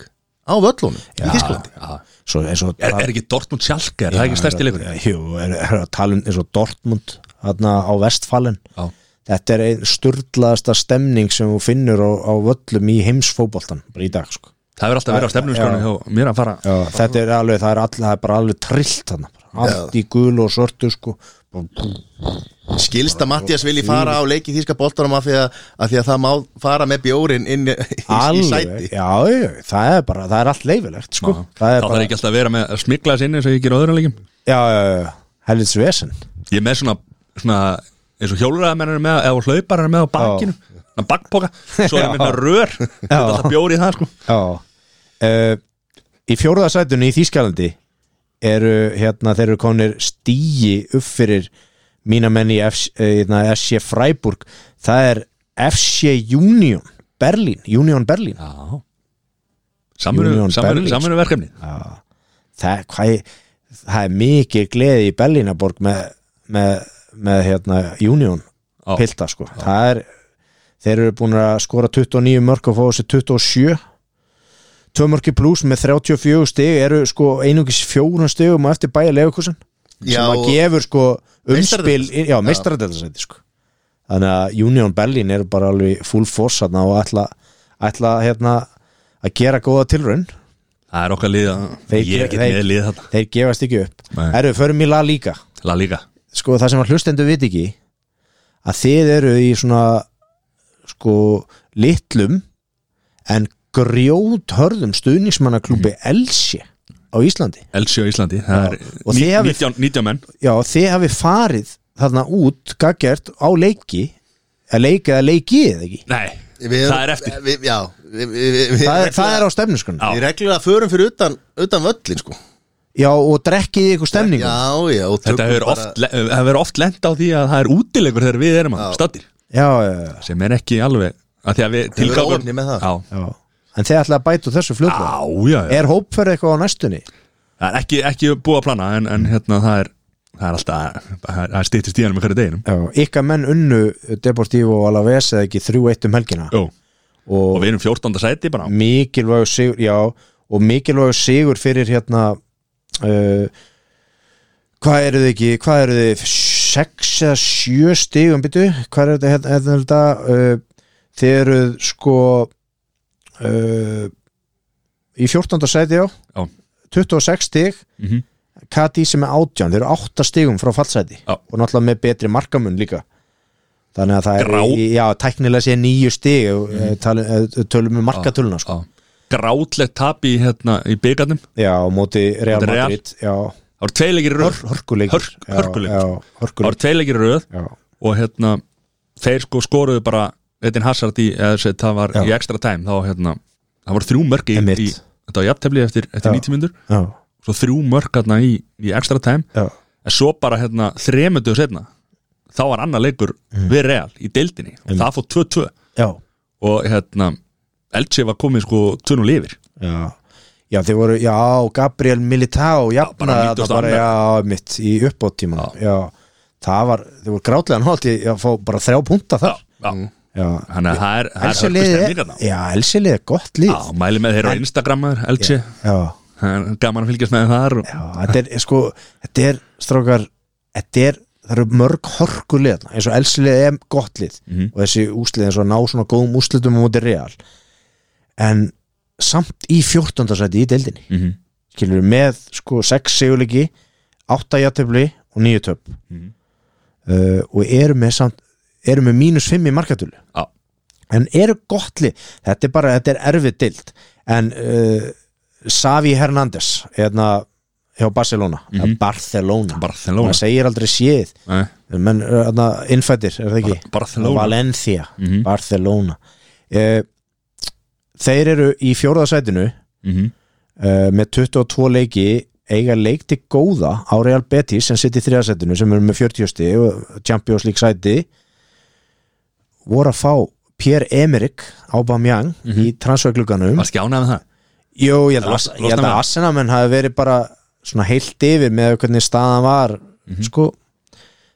[SPEAKER 3] á völlunum sko. í Þísklandi
[SPEAKER 2] Já.
[SPEAKER 1] svo eins og
[SPEAKER 2] Er, er ekki Dortmund sjálfke, er það ekki stærsti leikur?
[SPEAKER 1] Jú, er, er að tala um eins og Dortmund þarna á vestfalin
[SPEAKER 2] Já,
[SPEAKER 1] þetta er einn sturlaðasta stemning sem þú finnur á, á völlum í heimsfótboltan bara í dag sko
[SPEAKER 2] það hefur alltaf verið á stefnum
[SPEAKER 1] Já.
[SPEAKER 2] hjá mér að fara
[SPEAKER 1] Já, þetta er alveg, það er, all, það er bara alveg trillt hann allt í gul og sortu sko Bara-
[SPEAKER 3] skilst að Mattias vilji fara á leiki þýska boltanum af því að, af því að það má fara með bjórin inn í, í, í
[SPEAKER 1] alveg,
[SPEAKER 3] sæti
[SPEAKER 1] já, já, það er bara það er allt leifilegt sko
[SPEAKER 2] Já.
[SPEAKER 1] það er
[SPEAKER 2] þá
[SPEAKER 1] bara,
[SPEAKER 2] þarf ekki alltaf að vera með að smikla þess inn eins og ég ger á öðrum leikum
[SPEAKER 1] já, já, já, helvits vesen
[SPEAKER 2] ég er með svona, svona eins og hjóluræðamenn eru með eða hlaupar eru með á bakinu svona bakpoka, svo er
[SPEAKER 1] Já.
[SPEAKER 2] minna rör þetta er alltaf bjór í það sko
[SPEAKER 1] já uh, í fjórðasætunni í Þýskalandi eru, hérna, þeir eru konir stíi upp fyrir mína menn í F- eh, hérna, SC Freiburg það er FC Union Berlin, Union Berlin Union Berlin, sko.
[SPEAKER 2] samverðu verkefni
[SPEAKER 1] það, hvað, ég- það er mikið gleði í Berlínaborg með, með, með hérna, Union
[SPEAKER 2] Já.
[SPEAKER 1] pilta sko. það er þeir eru búin að skora 29 mörg og fá þessi 27 2 mörki pluss með 34 stig eru sko einungis fjórun stigum á eftir bæja lefukursin sem
[SPEAKER 3] Já,
[SPEAKER 1] að
[SPEAKER 3] og-
[SPEAKER 1] gefur sko umspil
[SPEAKER 3] Meistaradeildar-
[SPEAKER 1] já, meistaradelsæti sko þannig að Union Berlin eru bara alveg full force þarna og ætla, ætla hérna, að gera góða tilraun
[SPEAKER 2] það er okkar lið að-
[SPEAKER 1] Þeir-
[SPEAKER 2] ég er ekki
[SPEAKER 1] þeir-
[SPEAKER 2] með lið þetta
[SPEAKER 1] þeir gefast ekki upp
[SPEAKER 2] Nei.
[SPEAKER 1] Erðu, förum í La Liga
[SPEAKER 2] La Liga
[SPEAKER 1] sko það sem að hlustendur vit ekki að þið eru í svona sko litlum en grjóthörðum
[SPEAKER 2] Mhm.
[SPEAKER 1] stuðningsmannaklúbi mm. Elsi á Íslandi
[SPEAKER 2] Elsi á Íslandi, það er
[SPEAKER 1] og
[SPEAKER 2] ní-
[SPEAKER 1] þið hafið-
[SPEAKER 2] 19 19 menn
[SPEAKER 1] já þið hafi farið þarna út gaggert á leiki að leika eða leiki eða ekki
[SPEAKER 2] Nei,
[SPEAKER 3] Við-
[SPEAKER 2] það er eftir
[SPEAKER 3] við, Já, við, við, við, við,
[SPEAKER 1] það, er- það er á
[SPEAKER 2] Já.
[SPEAKER 1] stemnuskunni
[SPEAKER 3] Við reglulega förum fyrir utan, utan völlin sko
[SPEAKER 1] já og drekkið ykkur stemningu já,
[SPEAKER 3] Já, já og
[SPEAKER 2] Þetta
[SPEAKER 3] tökum
[SPEAKER 2] hefur
[SPEAKER 3] bara-
[SPEAKER 2] oft, le- það hefur oft lent á því að það er útilegur þegar við erum að stattir
[SPEAKER 1] já, já,
[SPEAKER 2] sem er ekki alveg að því að við
[SPEAKER 3] Hefur
[SPEAKER 2] tilgangurinn-
[SPEAKER 3] óefni með það.
[SPEAKER 2] Já,
[SPEAKER 1] já. en þið ætla að bæta úr þessu fljóðlega
[SPEAKER 2] já, já, já.
[SPEAKER 1] er hópferð eitthvað á næstunni
[SPEAKER 2] Það er ekki, ekki búið að plana en, en hérna það er það er alltaf, það er stýttist í hann með hverju deginum
[SPEAKER 1] Já, ykkar menn unnu Deportivo Alaves eða ekki 3-1 um helgina
[SPEAKER 2] Jó, og
[SPEAKER 1] og
[SPEAKER 2] við erum 14. sæti bara
[SPEAKER 1] mikilvægur sigur já, og mikilvægur sigur fyrir hérna uh, hvað eru þið ekki hvað eru þið 6 eða 7 stigum byttu hvað eru þetta hérna, hérna, hérna, uh, þið eru sko uh, í 14. sæti já
[SPEAKER 2] Já.
[SPEAKER 1] 26 stig
[SPEAKER 2] Mhm.
[SPEAKER 1] Kati sem er 18 þeir eru 8 stigum frá fallsæti
[SPEAKER 2] Já.
[SPEAKER 1] og náttúrulega með betri markamun líka þannig að það er
[SPEAKER 2] Grá. Mhm.
[SPEAKER 1] í- já, tæknilega sé nýju stig mm. tali, eh, tölum við markatöluna sko.
[SPEAKER 2] Já. Grátlegt tap í, hérna, í byggarnum
[SPEAKER 1] já, á móti Real
[SPEAKER 2] Móti Real.
[SPEAKER 1] Madrid já,
[SPEAKER 2] Það voru tveilegir röð
[SPEAKER 1] hör, hörkuleikur
[SPEAKER 2] Hörk-
[SPEAKER 1] Já,
[SPEAKER 2] hörkuleikur.
[SPEAKER 1] já,
[SPEAKER 2] Það voru
[SPEAKER 1] hörkuleikur
[SPEAKER 2] tveilegir röð
[SPEAKER 1] já,
[SPEAKER 2] og hérna þeir sko skoruðu bara Edin Hazard í, eða þessi, það var
[SPEAKER 1] Já.
[SPEAKER 2] í extra time þá hérna, það voru þrjú mörg í,
[SPEAKER 1] Einmitt.
[SPEAKER 2] í þetta var jafntefli eftir, eftir
[SPEAKER 1] Já.
[SPEAKER 2] 90 myndur
[SPEAKER 1] já,
[SPEAKER 2] svo þrjú mörg hérna í, í extra time
[SPEAKER 1] já,
[SPEAKER 2] en svo bara hérna þremundu setna þá var annar leikur
[SPEAKER 1] Mm.
[SPEAKER 2] við Real í deildinni og það fór 2-2
[SPEAKER 1] já,
[SPEAKER 2] og hérna Elche var komið sko 2-0 yfir
[SPEAKER 1] já. Já, þið voru, já, Gabriel Militao jafna,
[SPEAKER 2] bara
[SPEAKER 1] það
[SPEAKER 2] 90.
[SPEAKER 1] bara, já, mitt í uppbóttíma, já. það var, þið voru grátlega náttíð, já, fá bara þrjá punta
[SPEAKER 2] já,
[SPEAKER 1] þar,
[SPEAKER 2] já.
[SPEAKER 1] já,
[SPEAKER 2] Mm. þannig að það er, það er
[SPEAKER 1] Elsi
[SPEAKER 2] hörku
[SPEAKER 1] liðið
[SPEAKER 2] stemningarna
[SPEAKER 1] Já, Elsi liðið er gott lið
[SPEAKER 2] já, mæli með þeirra á Instagramar Elche
[SPEAKER 1] Já,
[SPEAKER 2] það er gaman að fylgjast með þeim þar og,
[SPEAKER 1] já þetta er sko Þetta er, strákar Þetta er, það eru mörg horku lið þarna. eins og Elsi liðið er gott lið
[SPEAKER 2] Mhm.
[SPEAKER 1] og þessi úslið eins og ná svona góðum úslitum á móti real en samt í 14. sæti í deildinni
[SPEAKER 2] mm
[SPEAKER 1] skilur með sko 6 sigurleiki 8 játtöfli og 9 töp
[SPEAKER 2] Mhm.
[SPEAKER 1] uh, og eru með samt eru með mínus 5 í markatölu
[SPEAKER 2] Já.
[SPEAKER 1] en eru gott lið þetta er bara, þetta er erfið dild en uh, Savi Hernandez hérna hjá Barcelona eða Barcelona,
[SPEAKER 2] Mhm. Barcelona
[SPEAKER 1] það segir aldrei séð
[SPEAKER 2] Nei,
[SPEAKER 1] menn, uh, hérna, innfættir, er það ekki?
[SPEAKER 2] Barcelona
[SPEAKER 1] Valencia,
[SPEAKER 2] Mhm.
[SPEAKER 1] Barcelona uh, þeir eru í fjórðasætinu
[SPEAKER 2] Mhm.
[SPEAKER 1] uh, með 22 leiki eiga leik til góða á Real Betis sem sitt í þriðasettinu sem eru með 40 stig og Champions League sæti voru að fá Pierre-Emerick Aubameyang í transferglugganum
[SPEAKER 2] Var skjánað með það?
[SPEAKER 1] Jó, ég held að,
[SPEAKER 2] Losna-
[SPEAKER 1] ég held
[SPEAKER 2] losna
[SPEAKER 1] að
[SPEAKER 2] með.
[SPEAKER 1] Assenamenn hafi verið bara svona heilt yfir með hvernig staðan var sko,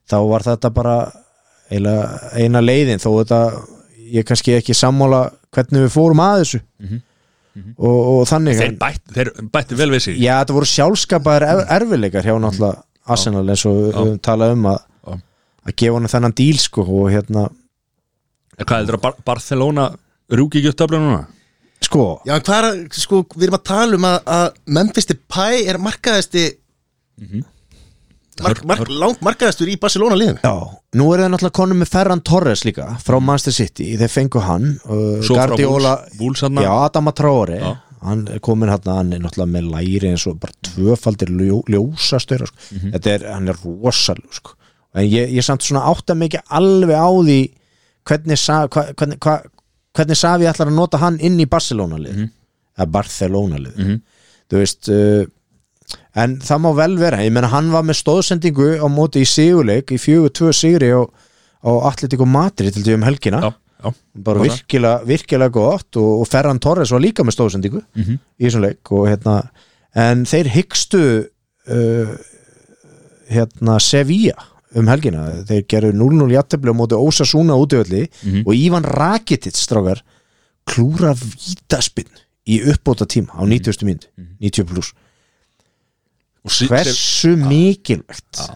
[SPEAKER 1] þá var þetta bara eila, eina leiðin þó þetta, ég er kannski ekki sammála hvernig við fórum að þessu Og, og þannig
[SPEAKER 2] Þeir
[SPEAKER 1] en-
[SPEAKER 2] bættu, þeir bættu vel við sig
[SPEAKER 1] Já, þetta voru sjálfskapaðar er, erfileikar hjá náttúrulega Arsenal eins og við höfum talað um að,
[SPEAKER 2] Já.
[SPEAKER 1] að gefa hann þennan díl sko og hérna
[SPEAKER 2] Hvað heldur að Bar Barcelona rúki ekki upp töflunum núna?
[SPEAKER 1] Sko,
[SPEAKER 3] Já, en hvað er, að- sko, við erum að tala um að, að Memphis Depay er markaðasti
[SPEAKER 2] Mhm.
[SPEAKER 3] mark, mark, langt markaðastur í Barcelona liðinu
[SPEAKER 1] já, nú er það náttúrulega konum með Ferran Torres líka frá Manchester City, þeir fengu hann uh,
[SPEAKER 2] Svo frá
[SPEAKER 1] Guardiola,
[SPEAKER 2] Wolves- Wolves þarna.
[SPEAKER 1] já, Adama Traore
[SPEAKER 2] Já.
[SPEAKER 1] hann er komin hann, hann er náttúrulega með læri eins og bara tvöfaldir ljó, ljósastur sko.
[SPEAKER 2] Mhm.
[SPEAKER 1] þetta er, hann er rosalú sko. en ég, ég samt svona átta mig ekki alveg á því hvernig sa, hva, hvernig, hva, hvernig Savi ætlar að nota hann inn í Barcelona lið
[SPEAKER 2] Mhm.
[SPEAKER 1] eða Barcelona lið þú veist uh, en það má vel vera, ég meina hann var með stóðsendingu á móti í sigurleik í 4-2 sigri á, á Atletico Madrid til því um helgina
[SPEAKER 2] já, já,
[SPEAKER 1] bara
[SPEAKER 2] Bara.
[SPEAKER 1] virkilega, virkilega gott og, og Ferran Torres var líka með stóðsendingu
[SPEAKER 2] Mhm.
[SPEAKER 1] í þessum leik og hérna en þeir hyggstu uh, hérna Sevilla um helgina, þeir gerðu 0-0 játtöfli á móti Ósasúna útöfli
[SPEAKER 2] Mhm.
[SPEAKER 1] og Ívan Rakitic strákar klúra vítaspinn í uppbóta tíma á 90. mynd
[SPEAKER 2] Mhm.
[SPEAKER 1] 90 pluss,
[SPEAKER 2] og, sí, Sev-
[SPEAKER 1] hversu mikilvægt
[SPEAKER 2] Já.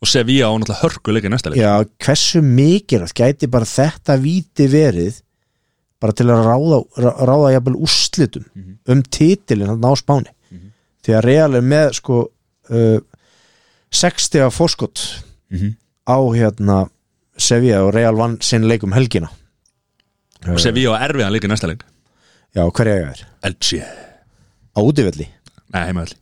[SPEAKER 2] og Sevilla á náttúrulega hörkuleik í næsta leik
[SPEAKER 1] Já, hversu mikilvægt gæti bara þetta víti verið bara til að ráða, rá- ráða jafnvel úrslitum um titilin hann á spáni því að Real er með sko uh, 60 af fórskot
[SPEAKER 2] Mhm.
[SPEAKER 1] á hérna Sevilla og Real vann sinn leik um helgina
[SPEAKER 2] og Sevilla á erfiðan leik í næsta leik
[SPEAKER 1] Já, hverja ég er?
[SPEAKER 2] Elche,
[SPEAKER 1] Á útivelli
[SPEAKER 2] nei heimaðalli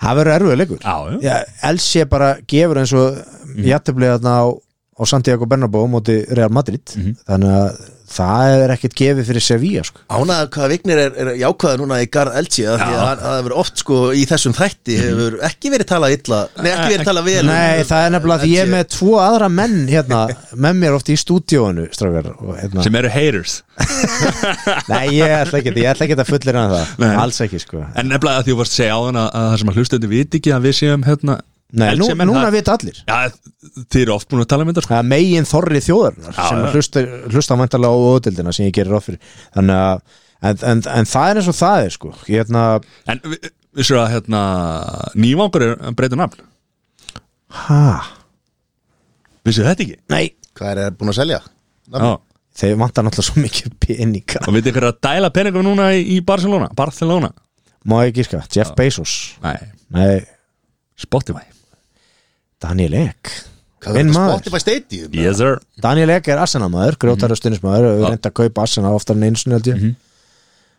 [SPEAKER 1] Það verður erfiður leikur
[SPEAKER 2] já, já,
[SPEAKER 1] Já, Elsie bara gefur eins og mm. jættublið þarna á, á Santiago Bernabéu á móti Real Madrid þannig að það er ekkert gefið fyrir Sevilla sko.
[SPEAKER 3] Ánaða hvaða vignir er, er jákvæða núna í Garð Elgi að því að hann- það hefur oft sko í þessum þætti hefur ekki verið talað illa Nei, ekki verið talað vel
[SPEAKER 1] Mhm.
[SPEAKER 3] um-
[SPEAKER 1] Nei, það er nefnilega því ég er
[SPEAKER 3] LG.
[SPEAKER 1] með tvo aðra menn hérna, með mér oft í stúdíóinu strafgar, og, hérna.
[SPEAKER 2] sem eru haters
[SPEAKER 1] Nei, ég ætla ekki ég ætla ekki að fullir að það,
[SPEAKER 2] Nei.
[SPEAKER 1] alls ekki sko.
[SPEAKER 2] en nefnilega að því þú varst að segja á hann að, að það sem að hlustendur viti ekki að við séum hérna
[SPEAKER 1] Nei, nú,
[SPEAKER 2] Elche menn,
[SPEAKER 1] núna
[SPEAKER 2] það-
[SPEAKER 1] vita allir
[SPEAKER 2] já, þið eru oft búin að tala um þetta sko.
[SPEAKER 1] það er megin þorri þjóðarinnar
[SPEAKER 2] Já,
[SPEAKER 1] sem
[SPEAKER 2] já.
[SPEAKER 1] hlusta, hlusta vantarlega á ódildina sem ég gerir ráð fyrir þannig að, en, en, en það er eins og það er sko, hérna,
[SPEAKER 2] en vi- vissur að hérna, nývangur er að breyta nafn
[SPEAKER 1] hæ
[SPEAKER 2] vissur þetta ekki
[SPEAKER 1] Nei,
[SPEAKER 3] Hvað er það búin að selja?
[SPEAKER 2] já.
[SPEAKER 1] þeir vantar náttúrulega svo mikið peninga
[SPEAKER 2] og veitir hver að dæla peningum núna í, í Barcelona Barcelona,
[SPEAKER 1] Má ég gíska, Jeff Bezos
[SPEAKER 2] nei,
[SPEAKER 1] Nei,
[SPEAKER 2] Spotify
[SPEAKER 1] Daniel Ek
[SPEAKER 3] Hvað
[SPEAKER 1] Minn
[SPEAKER 3] er það
[SPEAKER 1] maður.
[SPEAKER 3] Spotify Stadium?
[SPEAKER 2] yes sir
[SPEAKER 1] Daniel Ek er Arsenal-maður, grjótar og stunismæður og
[SPEAKER 2] Mhm. Já. Mhm.
[SPEAKER 1] reynda að kaupa Arsenal oftar en eins held ég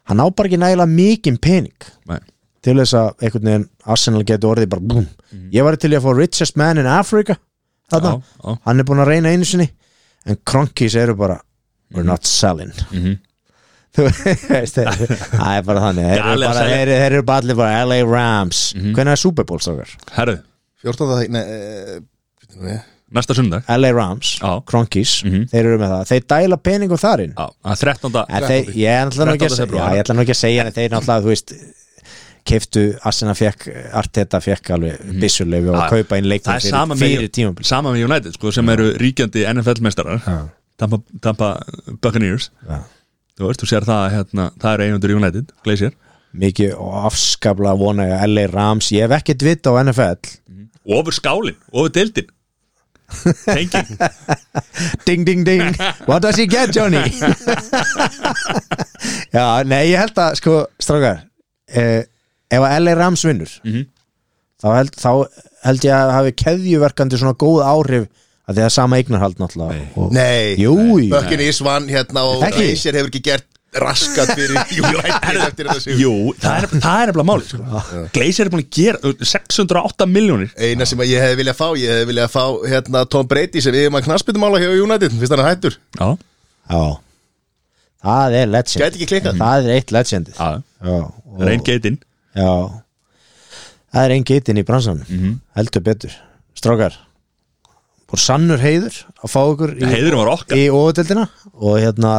[SPEAKER 1] Hann á bara ekki nægilega mikið pening
[SPEAKER 2] nei.
[SPEAKER 1] til þess að einhvern veginn Arsenal geti orðið bara búm Ég var til í að fá richest man in Africa þarna,
[SPEAKER 2] Mhm. Já, já.
[SPEAKER 1] hann er búin að reyna einu sinni en kronkis eru bara we're
[SPEAKER 2] Mhm.
[SPEAKER 1] not selling þú veist, þeir- það er bara þannig þeir eru
[SPEAKER 2] Galið
[SPEAKER 1] bara,
[SPEAKER 2] að selja.
[SPEAKER 1] þeir, þeir eru bara allir bara LA Rams,
[SPEAKER 2] Mhm.
[SPEAKER 1] hvernig er Super Bowl strókar?
[SPEAKER 2] herðu,
[SPEAKER 3] 14. það- Nei, eh, bíddu nú, ég-
[SPEAKER 2] næsta sundag
[SPEAKER 1] LA Rams,
[SPEAKER 2] Já.
[SPEAKER 1] Kronkis
[SPEAKER 2] Mhm.
[SPEAKER 1] þeir eru með það, þeir dæla peningum þarinn
[SPEAKER 2] Já, að 13.
[SPEAKER 1] en þeir, ég ætla nú ekki að
[SPEAKER 2] 13.
[SPEAKER 1] segja
[SPEAKER 2] febrúar.
[SPEAKER 1] já, ég ætla nú ekki að segja, en þeir náttúrulega, þú veist keiftu, Arsena fekk Arteta fekk alveg byssulefi og
[SPEAKER 2] Mhm.
[SPEAKER 1] að
[SPEAKER 2] Já,
[SPEAKER 1] kaupa inn leikmenn
[SPEAKER 2] það er sama
[SPEAKER 1] fyrir, fyrir
[SPEAKER 2] með,
[SPEAKER 1] tímabil
[SPEAKER 2] sama með United sko, sem eru ríkjandi NFL-meistarar Tampa, Tampa Buccaneers
[SPEAKER 1] Já.
[SPEAKER 2] þú veist, þú sér það að, hérna, það eru eigundur United, Glacier
[SPEAKER 1] mikið og afskaplega vona ég að LA Rams, ég hef ekkert vita á NFL
[SPEAKER 2] og ofur skálin, ofur deildin tenging,
[SPEAKER 1] ding ding ding, what does he get Johnny já, nei, ég held að sko, strákar eh, ef að LA Rams vinnur
[SPEAKER 2] Mhm.
[SPEAKER 1] þá, held, þá held ég að hafi keðjuverkandi svona góð áhrif að því það er sama eignarhald náttúrulega og,
[SPEAKER 3] Nei
[SPEAKER 1] júi,
[SPEAKER 3] Bökkin Ísvan hérna og
[SPEAKER 1] Ekki.
[SPEAKER 3] Reisir hefur ekki gert raskat fyrir United eftir þetta sigur.
[SPEAKER 2] jú, það er það er nefnilega máli sko. Glacier er búin að gera uh, 608 miljónir
[SPEAKER 3] Eina sem að ég hefði viljað fá, ég hefði viljað fá hérna Tom Brady sem við erum að knaspitumála hjá United, finnst hann er hættur
[SPEAKER 2] já,
[SPEAKER 1] já það er legend
[SPEAKER 3] Gæti ekki klikkað.
[SPEAKER 1] það er eitt legendið
[SPEAKER 2] já,
[SPEAKER 1] já, og-
[SPEAKER 2] reyn geitin
[SPEAKER 1] Já Það er einn geitin í bransan Heldur betur Strákar Búr sannur heiður að fá ykkur í,
[SPEAKER 2] heiðurinn var okkar,
[SPEAKER 1] í óvöldeldina og hérna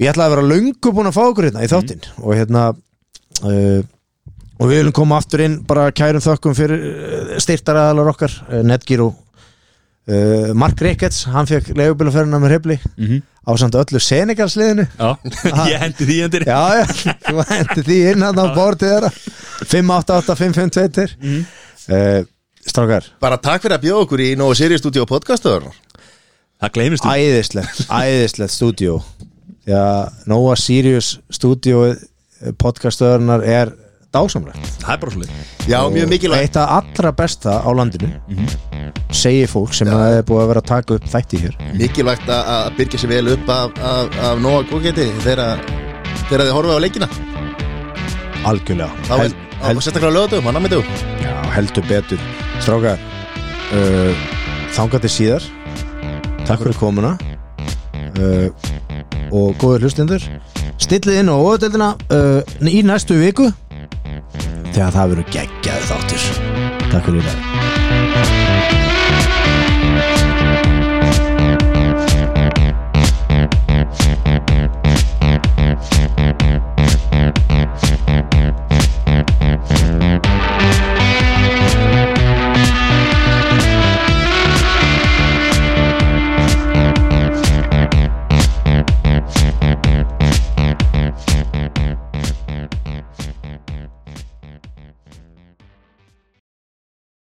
[SPEAKER 1] ég ætla að vera löngu búin að fá ykkur hérna í þáttinn og hérna uh, og við viljum koma aftur inn bara kærum þökkum fyrir uh, styrtaraðalar okkar, uh, Netgyro uh, Mark Ricketts, hann fekk leigubilaferðina með hreyfli
[SPEAKER 2] Mhm.
[SPEAKER 1] á samt öllu Senegalsliðinu
[SPEAKER 2] já, ég hendi því hendir
[SPEAKER 1] Já, já, þú hendi því inn hann á bortið þeirra 588-552 mm. Strákar,
[SPEAKER 3] Bara takk fyrir að bjóða okkur í Nóa Sirius Studio podcastaður
[SPEAKER 2] það gleymist þú
[SPEAKER 1] æðislegt, æðislegt stúdíó því að Nóa Sirius stúdíu podcastöðurnar er dásamlegt
[SPEAKER 2] það er bara svolítið
[SPEAKER 3] Já, mjög mikilvægt
[SPEAKER 1] eitt af allra besta á landinu
[SPEAKER 3] Mhm.
[SPEAKER 1] segir fólk sem að það er búið að vera að taka upp þætti hér
[SPEAKER 3] mikilvægt að að byrja sér vel upp af, af, af nóga góðgeti þegar þegar þið horfa á leikina
[SPEAKER 1] algjörlega
[SPEAKER 3] þá er á- sérstaklega á lögatum, á námiðum
[SPEAKER 1] Já, heldur betur Strákar uh, Þangað til síðar Takk fyrir komuna uh, Og góður hlustendur Stillið inn á óðutöldina uh, Í næstu viku Þegar það verður geggjaði þáttur Takk fyrir í dag